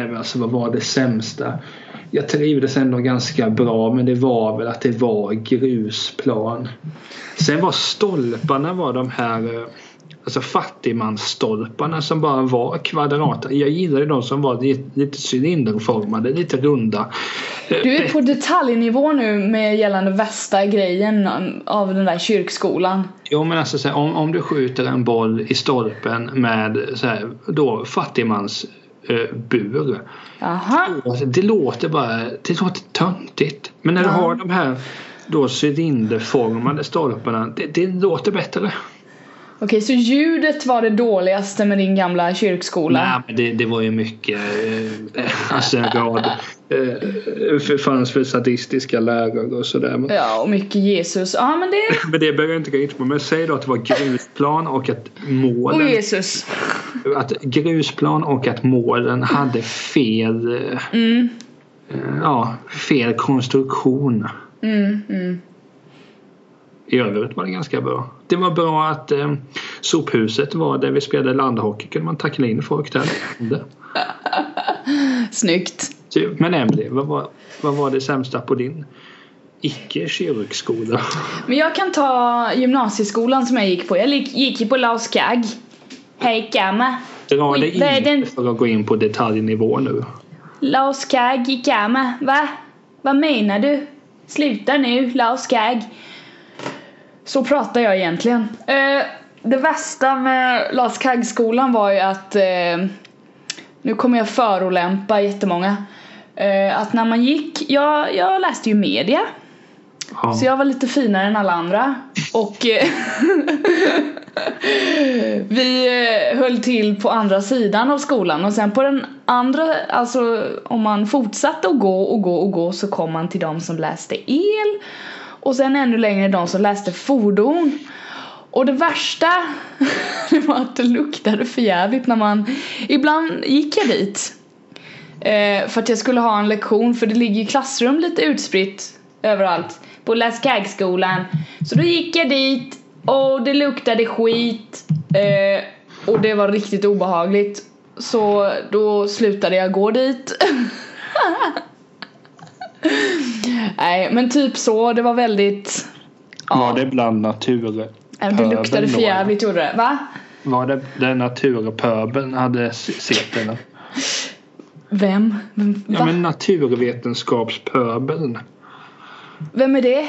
men alltså, vad var det sämsta? Jag trivdes ändå ganska bra men det var väl att det var grusplan. Sen var stolparna var de här eh, Alltså fattigmansstolparna som bara var kvadrat. Jag gillade de som var li- lite cylinderformade, lite runda. Eh, Du är på detaljnivå nu med gällande värsta grejen av den där kyrkskolan. Jo men alltså så här, om, om du skjuter en boll i stolpen med så här, då eh, fattigmansbur. Aha. Alltså, det låter bara det låter töntigt. Men när du Ja. har de här då cylinderformade stolparna. Det, det låter bättre. Okej, så ljudet var det dåligaste med din gamla kyrkskola? Nej, men det, det var ju mycket. eh, Alltså en rad. eh, för- fanns väl sadistiska lärare och sådär. Men, Ja, och mycket Jesus. Ja, men det... Eh, men det behöver jag inte gå in på. Men säg då att det var grusplan och att målen. Och Jesus. Att grusplan och att målen hade fel. eh, Mm, eh, Ja, fel konstruktion. mm, mm. I övrigt var det ganska bra. Det var bra att eh, sophuset var där vi spelade landhockey. kunde man tackla in folk där. Snyggt. Typ. Men Emily, vad var, vad var det sämsta på din icke kyrkskola? Men jag kan ta gymnasieskolan som jag gick på. Jag gick, gick ju på Laos Kag. Hej Kama. Dra Oj, dig vad är inte den- för att gå in på detaljnivå nu. Laos Kag i Kama. Va? Vad menar du? Sluta nu, Laos Kag. Så pratar jag egentligen. Eh, det värsta med Laos Kag-skolan var ju att eh, nu kommer jag förolämpa jättemånga. Eh, att när man gick, jag, jag läste ju media. Ja. Så jag var lite finare än alla andra. Och eh, vi eh, höll till på andra sidan av skolan och sen på den andra, alltså om man fortsatte att gå och gå och gå så kom man till de som läste el och sen ännu längre de som läste fordon. Och det värsta det var att det luktade för jävligt när man, ibland gick jag dit Eh, för att jag skulle ha en lektion för det ligger ju klassrum lite utspritt överallt på Laskagskolan. Så då gick jag dit och det luktade skit eh, och det var riktigt obehagligt. Så då slutade jag gå dit. Nej men typ så, det var väldigt... Var det bland natur... eh, Det pöbeln luktade då, för jävligt gjorde det. Va? Var det där naturpöbeln hade s- sitt eller? Vem? Vem, Ja va? men naturvetenskapspöbeln. Vem är det?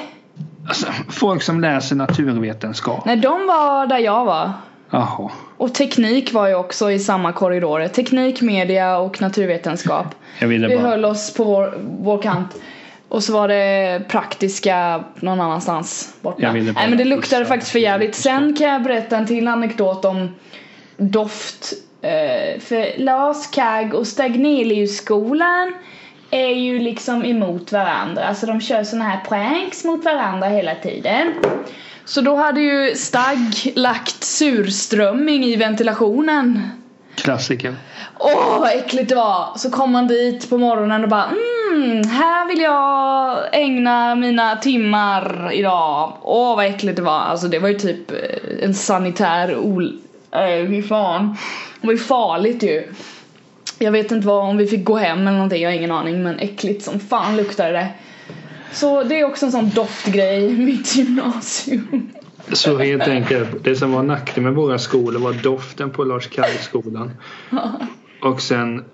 Alltså, folk som läser naturvetenskap. Nej de var där jag var. Jaha. Och teknik var ju också i samma korridorer. Teknik, media och naturvetenskap. Jag ville Vi bara... höll oss på vår, vår kant. Och så var det praktiska någon annanstans borta. Jag ville bara Nej men det luktade gissa. faktiskt för jävligt. Sen kan jag berätta en till anekdot om doft. Eh, För Lars Kagg och Stagneliusskolan är ju liksom emot varandra. Alltså de kör såna här pranks mot varandra hela tiden. Så då hade ju Stagg lagt surströmming i ventilationen Klassiker. Åh vad äckligt det var! Så kom man dit på morgonen och bara mm, här vill jag ägna mina timmar idag. Åh vad äckligt det var. Alltså det var ju typ eh, en sanitär ol... Äh, fy fan. Det var ju farligt ju. Jag vet inte vad, om vi fick gå hem eller någonting, jag har ingen aning men äckligt som fan luktade det. Så det är också en sån doftgrej i mitt gymnasium. Så helt enkelt, det som var nackdelen med våra skolor var doften på Lars Kajskolan. Och sen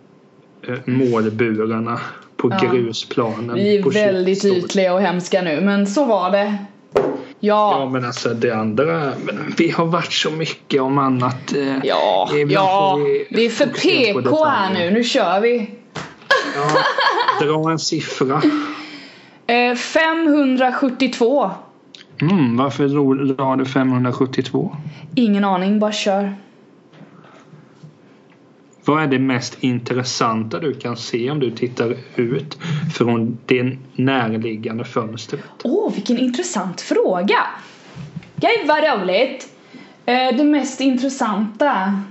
eh, målburarna på Ja. grusplanen. Vi på är väldigt kyrkskolan. ytliga och hemska nu men så var det. Ja men alltså det andra, men vi har varit så mycket om annat. eh, Ja, Ibland ja. får vi Det är för fokusera på PK här detaljer. nu. Nu kör vi. Ja, dra en siffra. Eh, 572. Mm, varför drog- la du 572? Ingen aning, bara kör. Vad är det mest intressanta du kan se om du tittar ut från det närliggande fönstret? Åh, vilken intressant fråga! Gud vad roligt! Eh, det mest intressanta...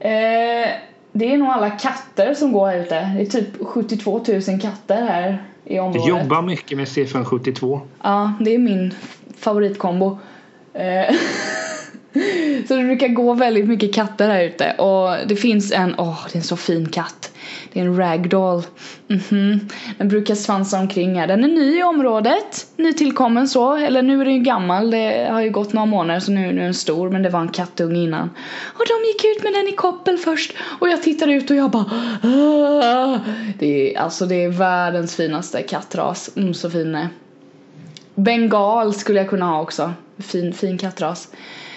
Eh, det är nog alla katter som går här ute. Det är typ 72 000 katter här i Du området. jobbar mycket med siffran 72. Ja, det är min favoritkombo. Eh, så det brukar gå väldigt mycket katter här ute och det finns en, åh det är en så fin katt. Det är en ragdoll. Mhm. Den brukar svansa omkring här. Den är ny i området, nytillkommen så. Eller nu är den ju gammal, det har ju gått några månader så nu, nu är den stor men det var en kattunge innan. Och de gick ut med den i koppel först och jag tittar ut och jag bara "Ah." det är, Alltså det är världens finaste kattras. Mm, så fin den är. Bengal skulle jag kunna ha också. Fin, fin kattras.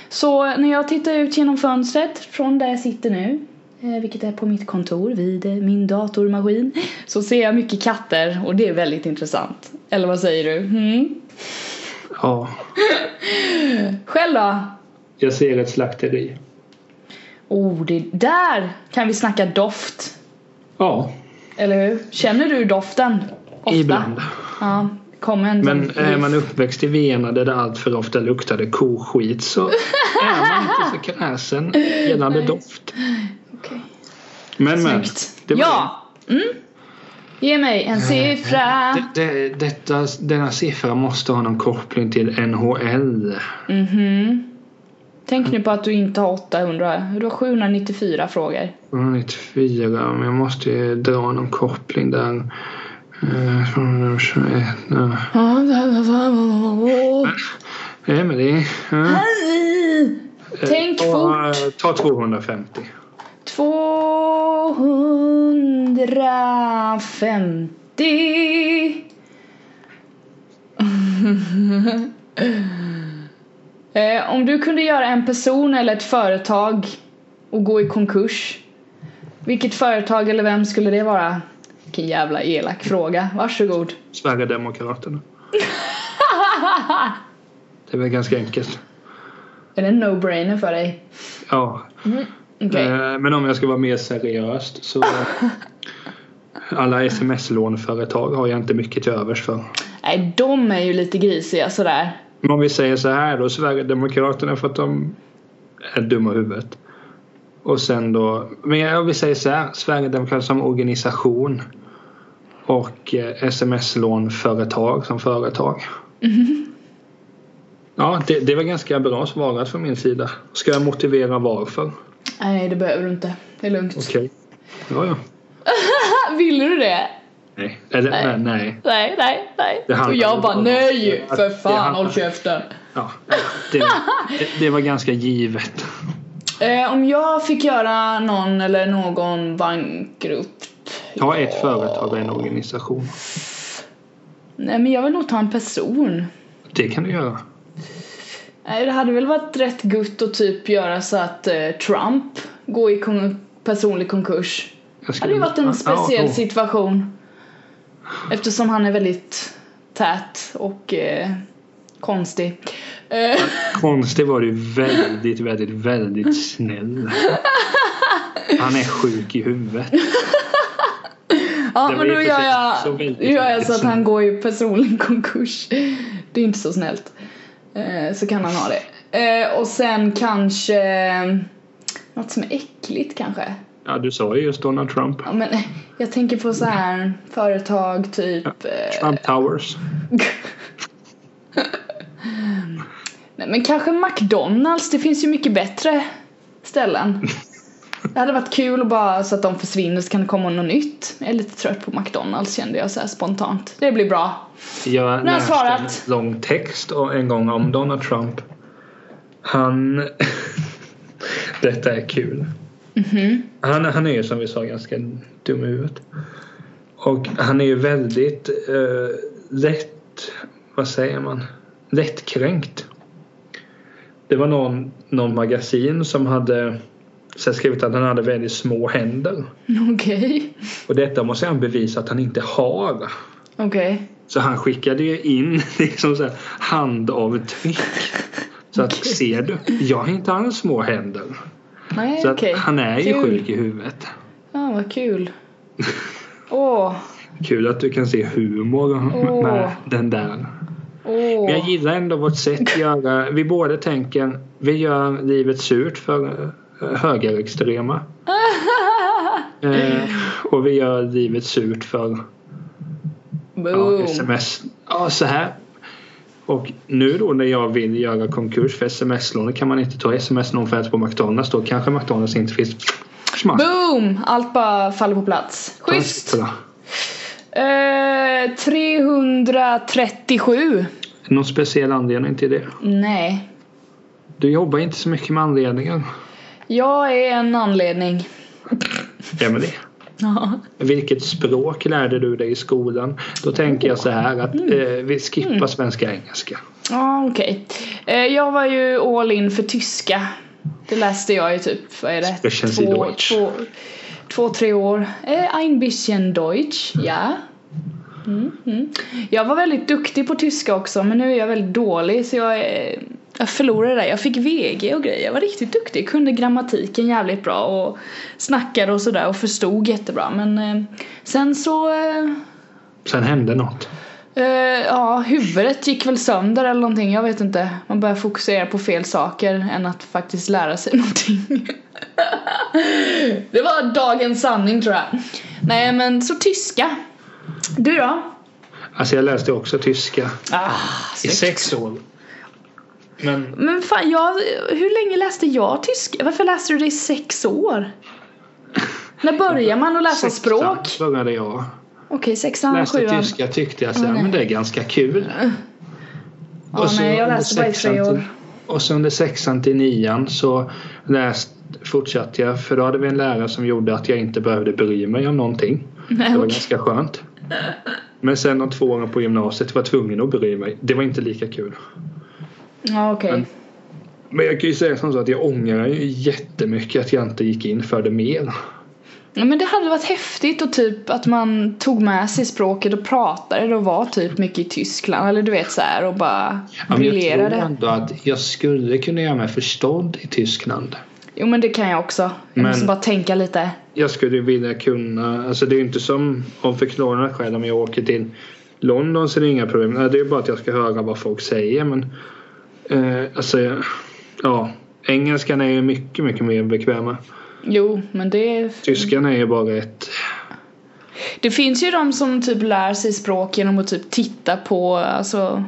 Så när jag tittar ut genom fönstret från där jag sitter nu, eh, vilket är på mitt kontor vid eh, min datormaskin, så ser jag mycket katter och det är väldigt intressant. Eller vad säger du? Mm. Ja, Själv då? jag ser ett slakteri. Oh, det där kan vi snacka doft. Ja, Eller hur? Känner du doften? Ofta? ibland. Ja, kom en Men sån- är man uppväxt i Vena där det allt för ofta luktade koskit så är man inte så kräsen gällande doft. Okej. Men men. Snyggt. det var ja! Mm. Ge mig en siffra. det. Det, det, detta, denna siffra måste ha någon koppling till NHL. Mhm. Tänk nu på att du inte har 800. Du har 794 frågor. 94, men jag måste ju dra någon koppling där. Eh, 221, ja. Nej men det ja. Tänk Eh, ta- fort. Ta 250. 250. Eh, Om du kunde göra en person eller ett företag och gå i konkurs. Vilket företag eller vem skulle det vara? Vilken jävla elak fråga. Varsågod. Sverigedemokraterna. det är väl ganska enkelt. Är det en no-brainer för dig? Ja, Okej. Eh, Men om jag ska vara mer seriöst så alla sms-lånföretag har jag inte mycket till övers för. Nej, de är ju lite grisiga sådär. Men om vi säger så här då, Sverigedemokraterna för att de är dumma i huvudet. Och sen då, men om vi säger så här, Sverigedemokraterna som organisation och eh, sms-lånföretag som företag. Ja, det, det var ganska bra svarat från min sida. Ska jag motivera varför? Nej, det behöver du inte. Det är lugnt. Okej. Ja, ja. Ville du det? Nej. Eller, Nej. nej. nej. Nej, nej, nej. Det handlar Och jag ju bara om- nej! att- För det fan, handlar- håll käften. Ja, det, det, det var ganska givet. Eh, om jag fick göra någon eller någon bankrutt. Ta ett företag och en organisation. Nej, men jag vill nog ta en person. Det kan du göra. Nej, det hade väl varit rätt gutt att typ göra så att eh, Trump går i kon- personlig konkurs. Jag Det hade ju varit en speciell ja, situation. Eftersom han är väldigt tät och eh, konstig. Eh, ja. Konstigt var du väldigt, väldigt, väldigt snäll. Han är sjuk i huvudet. ja, det var men ju då för gör sig jag, så väldigt gör jag så att snällt. han går i personlig konkurs. Det är inte så snällt. Eh, så kan han ha det. Eh, och sen kanske eh, något som är äckligt kanske. Ja, du sa ju just Donald Trump. Ja, men, eh, jag tänker på så här företag typ. Eh, Trump Towers. Nej, men kanske McDonalds, det finns ju mycket bättre ställen. Det hade varit kul att bara så att de försvinner så kan det komma något nytt. Jag är lite trött på McDonalds kände jag så här spontant. Det blir bra. Jag har jag läste svarat. en lång text och- en gång om Donald Trump. Han... Detta är kul. Han, han är ju som vi sa ganska dum i huvudet. Och han är ju väldigt eh, lätt... Vad säger man? Lättkränkt. Det var någon, någon magasin som hade så här skrivit att han hade väldigt små händer. Okej. Och detta måste han bevisa att han inte har. Okej. Så han skickade ju in liksom så här, handavtryck. Så att ser du, jag har inte alls små händer. Nej, Så att okej. han är ju Kul. sjuk i huvudet. Ja, vad kul. Åh, Kul att du kan se humor Åh. med den där. åh. Men jag gillar ändå vårt sätt att göra. Vi båda tänker, vi gör livet surt för eh, högerextrema. Eh, och vi gör livet surt för ja, Boom. sms. Ja, så här. Och nu då när jag vill göra konkurs för sms-lån kan man inte ta sms-lån för att på McDonalds då kanske McDonalds inte finns. Schmack. Boom! Allt bara faller på plats. Schysst! Sådär. Eh, 337. Någon speciell anledning till det? Nej. Du jobbar inte så mycket med anledningar. Jag är en anledning. Emelie, Ja. vilket språk lärde du dig i skolan? Då tänker jag så här att Mm. eh, vi skippar svenska och engelska. Ja, okej. Eh, jag var ju all in för tyska. Det läste jag i typ, vad är det? Sprechen Sie Deutsch. två, två, tre år. Eh, ein bisschen Deutsch, ja. Mm, mm. Jag var väldigt duktig på tyska också men nu är jag väldigt dålig så jag, eh, jag förlorade det. Jag fick VG och grejer. Jag var riktigt duktig. Kunde grammatiken jävligt bra och snackade och sådär och förstod jättebra. Men eh, sen så eh, Sen hände något. Eh, ja, huvudet gick väl sönder eller någonting, jag vet inte. Man börjar fokusera på fel saker än att faktiskt lära sig någonting. det var dagens sanning tror jag. Nej men så tyska. Du då? Alltså jag läste också tyska Ah, i snyggt. sex år. Men men fan, jag, hur länge läste jag tyska? Varför läste du det i sex år? När börjar man att läsa språk? Okej, Sexan började jag. sexan, Läste sjuan. tyska tyckte jag så här, men det är ganska kul. Ja, nej, jag under läste bara i sexan tre år. till- Och så under sexan till nian så läst, fortsatte jag för då hade vi en lärare som gjorde att jag inte behövde bry mig om någonting. Nej, Det var okej. ganska skönt. Men sen de två åren på gymnasiet var jag tvungen att bry mig. Det var inte lika kul. Ja, okej. Men jag kan ju säga som så att jag ångrar ju jättemycket att jag inte gick in för det mer. Ja, men det hade varit häftigt och typ att man tog med sig språket och pratade och var typ mycket i Tyskland eller du vet så här och bara Ja, men jag tror briljerade. ändå att jag skulle kunna göra mig förstådd i Tyskland. Jo men det kan jag också. Jag Men- måste bara tänka lite. Jag skulle vilja kunna, alltså det är ju inte som om förklarande skäl om jag åker till London så är det inga problem. Nej, Det är bara att jag ska höra vad folk säger men eh, alltså ja, engelskan är ju mycket, mycket mer bekväma. Jo men det... Tyskan är ju bara ett, Det finns ju de som typ lär sig språk genom att typ titta på alltså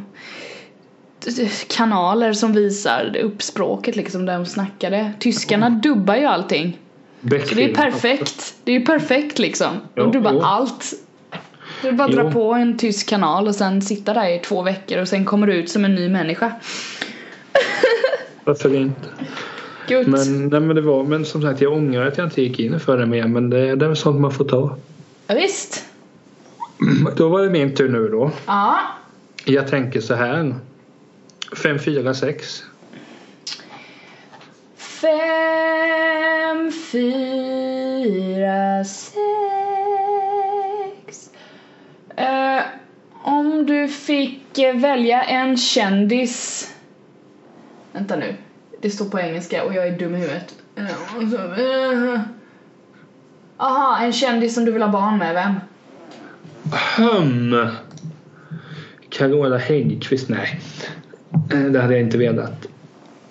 kanaler som visar upp språket liksom där de snackar det. Tyskarna dubbar ju allting. Så det är perfekt. Det är ju perfekt liksom. Jo, De dubbar jo. allt. Det är bara att dra Jo. på en tysk kanal och sen sitta där i två veckor och sen kommer du ut som en ny människa. Varför inte? Gud. Men, nej, men, det var, men som sagt jag ångrar att jag inte gick in för det mer men det, det är väl sånt man får ta. Ja, visst. Mm. Då var det min tur nu då. Ja. Jag tänker så här. 5, 4, 6. Fem, fyra, sex. Eh, om du fick eh, välja en kändis. Vänta nu. Det står på engelska och jag är dum i huvudet. Eh, och så- eh. Aha, en kändis som du vill ha barn med. Vem? Hum. Carola Häggkvist, nej. Eh, Det hade jag inte velat.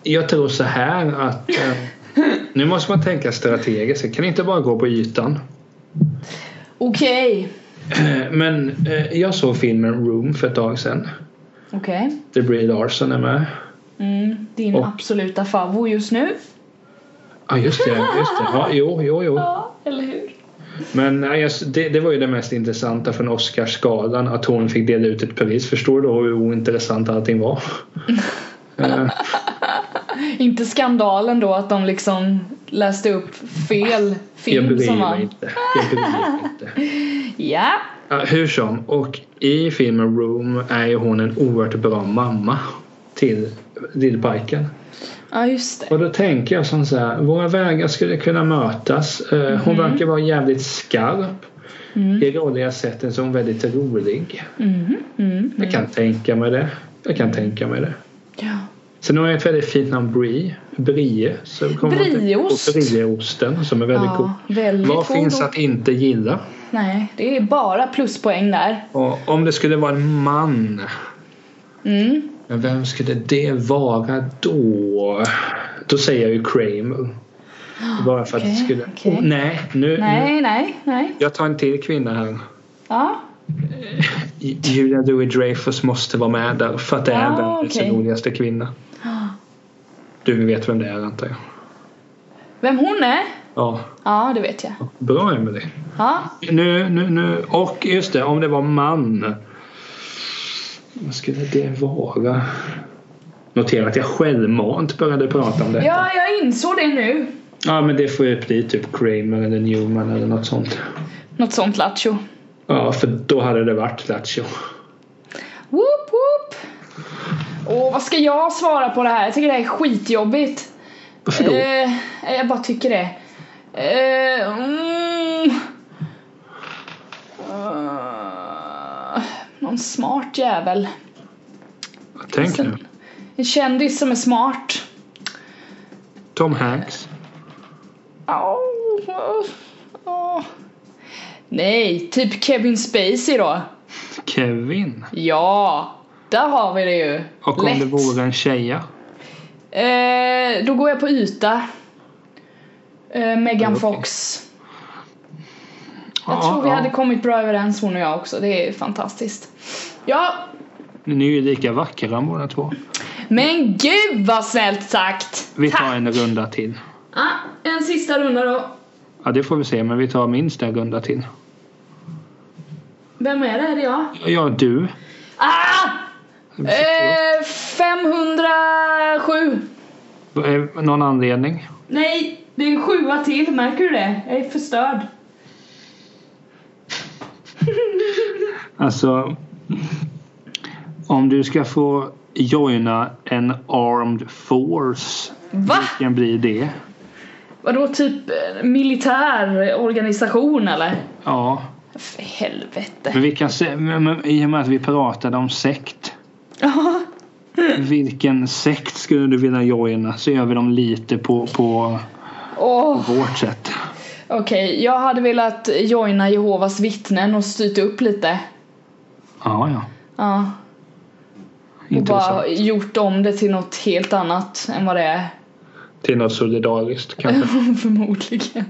Jag tror så här att eh, nu måste man tänka strategiskt. Jag kan inte bara gå på ytan. Okej. Eh, Men eh, jag såg filmen Room för ett tag sedan. Okej. Det Brie Larson är med. Mm, din Och- absoluta favorit just nu. Ja, just det. Just det. Ja, jo, jo, jo. Ja, eller hur? Men nej, jag- det, det var ju det mest intressanta från Oscarsgalan att hon fick dela ut ett pris. Förstår du då hur ointressant allting var? Eh, Inte skandalen då att de liksom läste upp fel jag film bryr som mig var... inte. Jag bryr mig inte. Ja, Ja, hur som. Och i filmen Room är ju hon en oerhört bra mamma till lillpojken. ja just det. Och då tänker jag Mhm. som så här, våra vägar skulle kunna mötas. Eh, Hon verkar vara jävligt skarp. ironiska sättet som väldigt rolig. Mm. Mm. Jag kan tänka mig det. Jag kan tänka mig det. Ja. Sen har jag ett väldigt fint namn Brie. Brie. Så kommer man att tänka på Brieost. Brieosten som är väldigt god. Ja, väldigt Vad god finns och- att inte gilla? Nej, det är bara pluspoäng där. Och om det skulle vara en man, Mm. men vem skulle det vara då? Då säger jag ju Kramer. Bara för att det Ah, okej, skulle... okej. Oh, nej, nu, nu... Nej, nej, nej. Jag tar en till kvinna här. Ja, Julia Dewey-Dreyfus måste vara med där för att det är Ah, världens okej. roligaste kvinna. Du vet vem det är antar jag? vem hon är? Ja, Ja, det vet jag. bra Emelie. Ja, Nu, nu, nu. Och just det, om det var man. Vad skulle det vara? Notera att jag självmant började prata om det. Ja. ja jag insåg det nu. men det får jag upp dit. Typ Kramer eller Newman eller något sånt. Något sånt lattjo. Ja, för då hade det varit Lattjo. Whoop, whoop. Åh, vad ska jag svara på det här? Jag tycker det här är skitjobbigt. Varför då? Eh, jag bara tycker det. Eh, mm. Eh, någon smart jävel. Tänk nu. sen- En kändis som är smart. Tom Hanks. Au, au, au. Nej, typ Kevin Spacey då. Kevin. Ja, där har vi det ju. Och om Lätt. det vore en tjeja. Eh, då går jag på yta. Eh, Megan Okej. Fox. Jag Ja, tror vi ja. hade kommit bra överens hon och jag också. Det är fantastiskt. Ja, Ni är ju lika vackra båda två. men gud vad snällt sagt! Vi tar Tack. en runda till. Ah, en sista runda då. Ja, det får vi se. Men vi tar minst en runda till. Vem är det? Är det jag? Ja, du. Ah! Eh, 507. Eh, Någon anledning? Nej, det är en sjua till. Märker du det? Jag är förstörd. Alltså, om du ska få joina en armed force, Va? vilken blir det? Vadå typ eh, militär organisation eller? Ja, För helvete. men vi kan se, men, men, i och med att vi pratade om sekt. Ja. Vilken sekt skulle du vilja joina? Så gör vi dem lite på, på Åh, vårt sätt. Okej, jag hade velat joina Jehovas vittnen och styrt upp lite. Ja, ja. Ja. Och Intressant. bara gjort om det till något helt annat än vad det är. Till något solidariskt kanske. Förmodligen.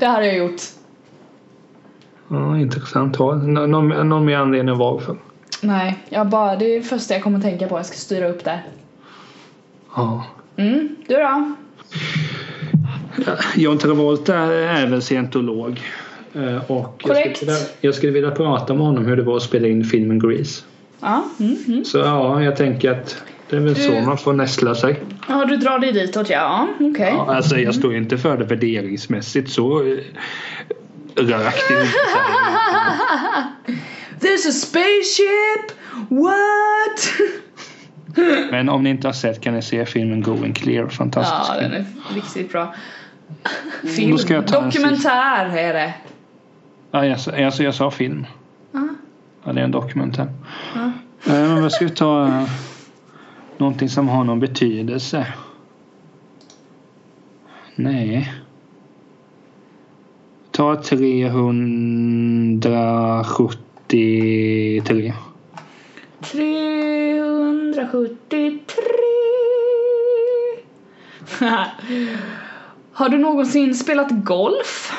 det hade jag gjort. Ja, intressant. Ja, nå- Någon, någon mer anledning varför? Nej, jag bara, det är det första jag kommer att tänka på. Jag ska styra upp det. Ja. Mm, du då? John Travolta är väl scientolog. Eh, Och jag Korrekt. skulle, vilja, jag skulle vilja prata med honom hur det var att spela in filmen Grease. Ja, mm, mm. Så ja, jag tänker att det är väl så Du- man får nästla sig. ja du drar dig ditåt ja. Ja, Okej. Ja, alltså jag står ju inte för det värderingsmässigt så eh, rökt. är det inte. There's a spaceship! What? Men om ni inte har sett kan ni se filmen Going Clear. Fantastisk. ja, den är riktigt bra. Då Film. ska jag ta en Dokumentär är det. Ja, jag, sa- alltså jag sa film. Ja, det är en dokumentär. Eh, Men vad ska vi ta eh, någonting som har någon betydelse? Nej. Ta 373. 373. Har du någonsin spelat golf?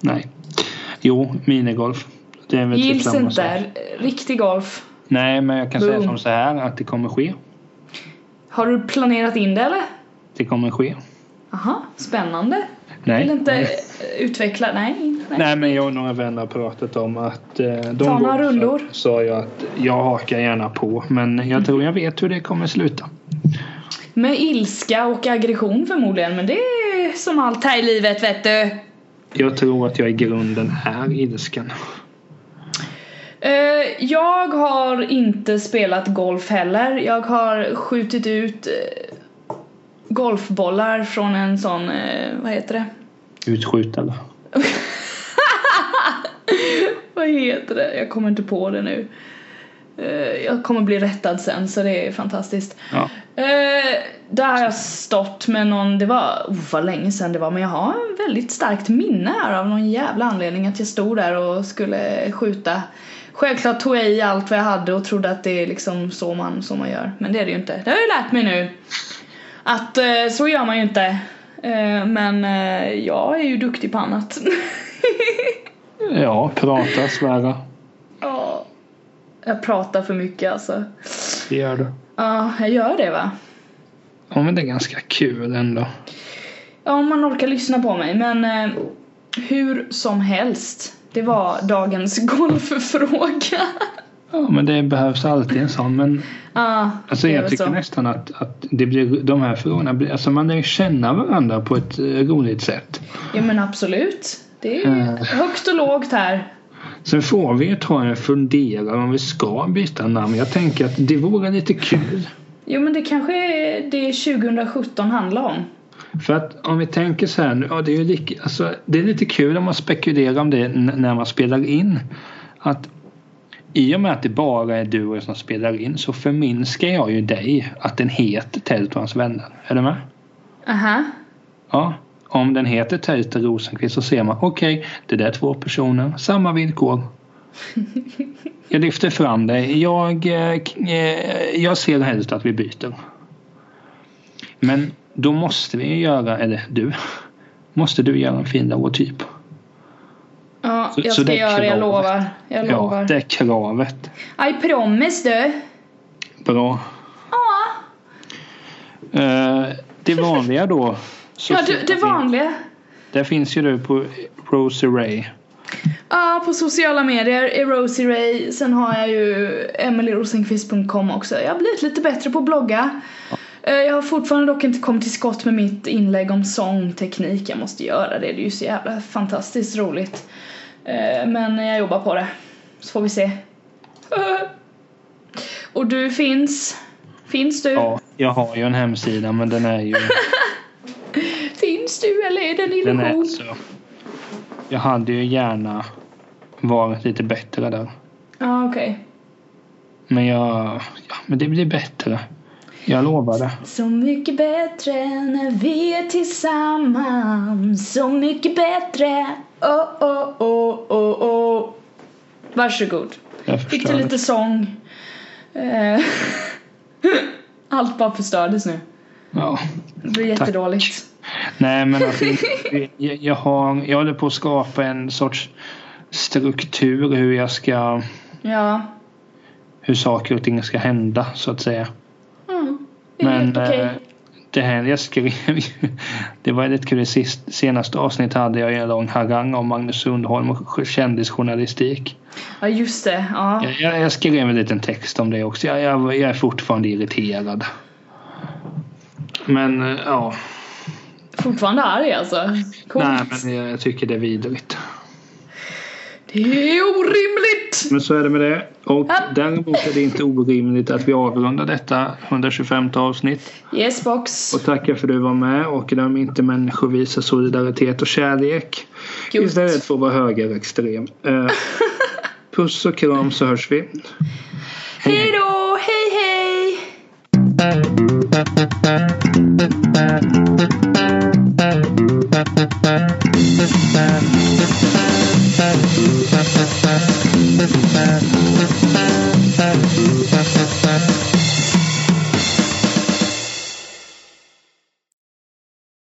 Nej. Jo, minigolf. Det är väl typ Gills samma inte. sak. R- Riktig golf. Nej, men jag kan säga Boom. som så här att det kommer ske. Har du planerat in det eller? Det kommer ske. Aha, spännande. Nej. Vill inte Nej. eh, utveckla? Nej. nej. Nej men jag och några vänner har pratat om att eh, de Ta några gånger så- rundor. sa jag att jag hakar gärna på men jag tror jag vet hur det kommer sluta. Med ilska och aggression förmodligen, men det är som allt här i livet vet du. Jag tror att jag i grunden är ilsken. Eh, jag har inte spelat golf heller. Jag har skjutit ut eh, golfbollar från en sån, eh, vad heter det? Utskjutare. vad heter det? Jag kommer inte på det nu. Eh, Jag kommer bli rättad sen så det är fantastiskt. Ja. Eh, där har jag stått med någon, det var, oh, vad länge sedan det var, men jag har en väldigt starkt minne här av någon jävla anledning att jag stod där och skulle skjuta. Självklart tog jag i allt vad jag hade och trodde att det är liksom så man, så man gör, men det är det ju inte. Det har jag ju lärt mig nu. Att eh, så gör man ju inte. Eh, men eh, jag är ju duktig på annat. ja, prata, svära. Ja. jag pratar för mycket alltså. Det gör du. Ja, jag gör det va? Ja, men det är ganska kul ändå. Ja, om man orkar lyssna på mig. Men eh, hur som helst, det var dagens golffråga. Ja, men det behövs alltid en sån. Men ah, alltså, det är jag väl tycker så. nästan att, att det blir, de här frågorna blir, alltså man lär ju känna varandra på ett eh, roligt sätt. Ja, men absolut. Det är ju Eh. högt och lågt här. Sen får vi ju ta en funderare om vi ska byta namn. Jag tänker att det vore lite kul. Jo, men det kanske är det 2017 handlar om. För att om vi tänker så här nu, ja, det, är ju lik, alltså, det är lite kul om man spekulerar om det n- när man spelar in. Att i och med att det bara är du och jag som spelar in så förminskar jag ju dig att den heter Tält och hans vänner. Är du med? Aha. Ja. Om den heter Tält och Rosenqvist så ser man okej, det där är två personer, samma villkor. Jag lyfter fram dig. Jag, eh, k- eh, jag ser helst att vi byter. Men då måste vi ju göra, eller du, måste du göra en fin typ logotyp. Ja, Så- jag så ska det är göra det, jag kravet. lovar. Jag Ja, lovar. det är kravet. I promise du. Bra. Ja, Eh, det vanliga då. ja det, det vanliga. Där finns ju du på Rose Ray. Ja, på sociala medier är Rosie Ray. Sen har jag ju emilyrosenqvist.com också. Jag har blivit lite bättre på att blogga. Eh, Jag har fortfarande dock inte kommit till skott med mitt inlägg om sångteknik. Jag måste göra det. Det är ju så jävla fantastiskt roligt. Eh, Men jag jobbar på det. Så får vi se. Eh. Och du finns. Finns du? Ja, jag har ju en hemsida men den är ju... Finns du eller är det en Den är illusion? så. Jag hade ju gärna varit lite bättre där. Ja, okej. Men jag... Ja, men det blir bättre. Jag lovar det. Så mycket bättre när vi är tillsammans Så mycket bättre Oh, oh, oh, oh, oh Varsågod. Jag Fick förstår. du det. lite sång? Eh, Allt bara förstördes nu. Ja. Det blir Tack. jättedåligt. Nej, men alltså, jag, jag, har, jag håller på att skapa en sorts struktur hur jag ska... Ja. Hur saker och ting ska hända, så att säga. Mm. Det är Men helt okej. eh, det här jag skrev ju- Det var lite kul. I sist, senaste avsnittet hade jag ju en lång harang om Magnus Sundholm och kändisjournalistik. Ja, just det. Ja. Jag, jag, jag skrev en liten text om det också. Jag, jag, jag är fortfarande irriterad. Men eh, ja, Fortfarande arg alltså. Coolt. nej men jag tycker det är vidrigt. Det är orimligt! Men så är det med det. Och Ja. däremot är det inte orimligt att vi avrundar detta 125 avsnitt. Yes box. Och tackar för att du var med och glöm inte människor visar solidaritet och kärlek. Gud. Istället för att vara högerextrem. Eh, Puss och kram så hörs vi. Hej då! Hej hej!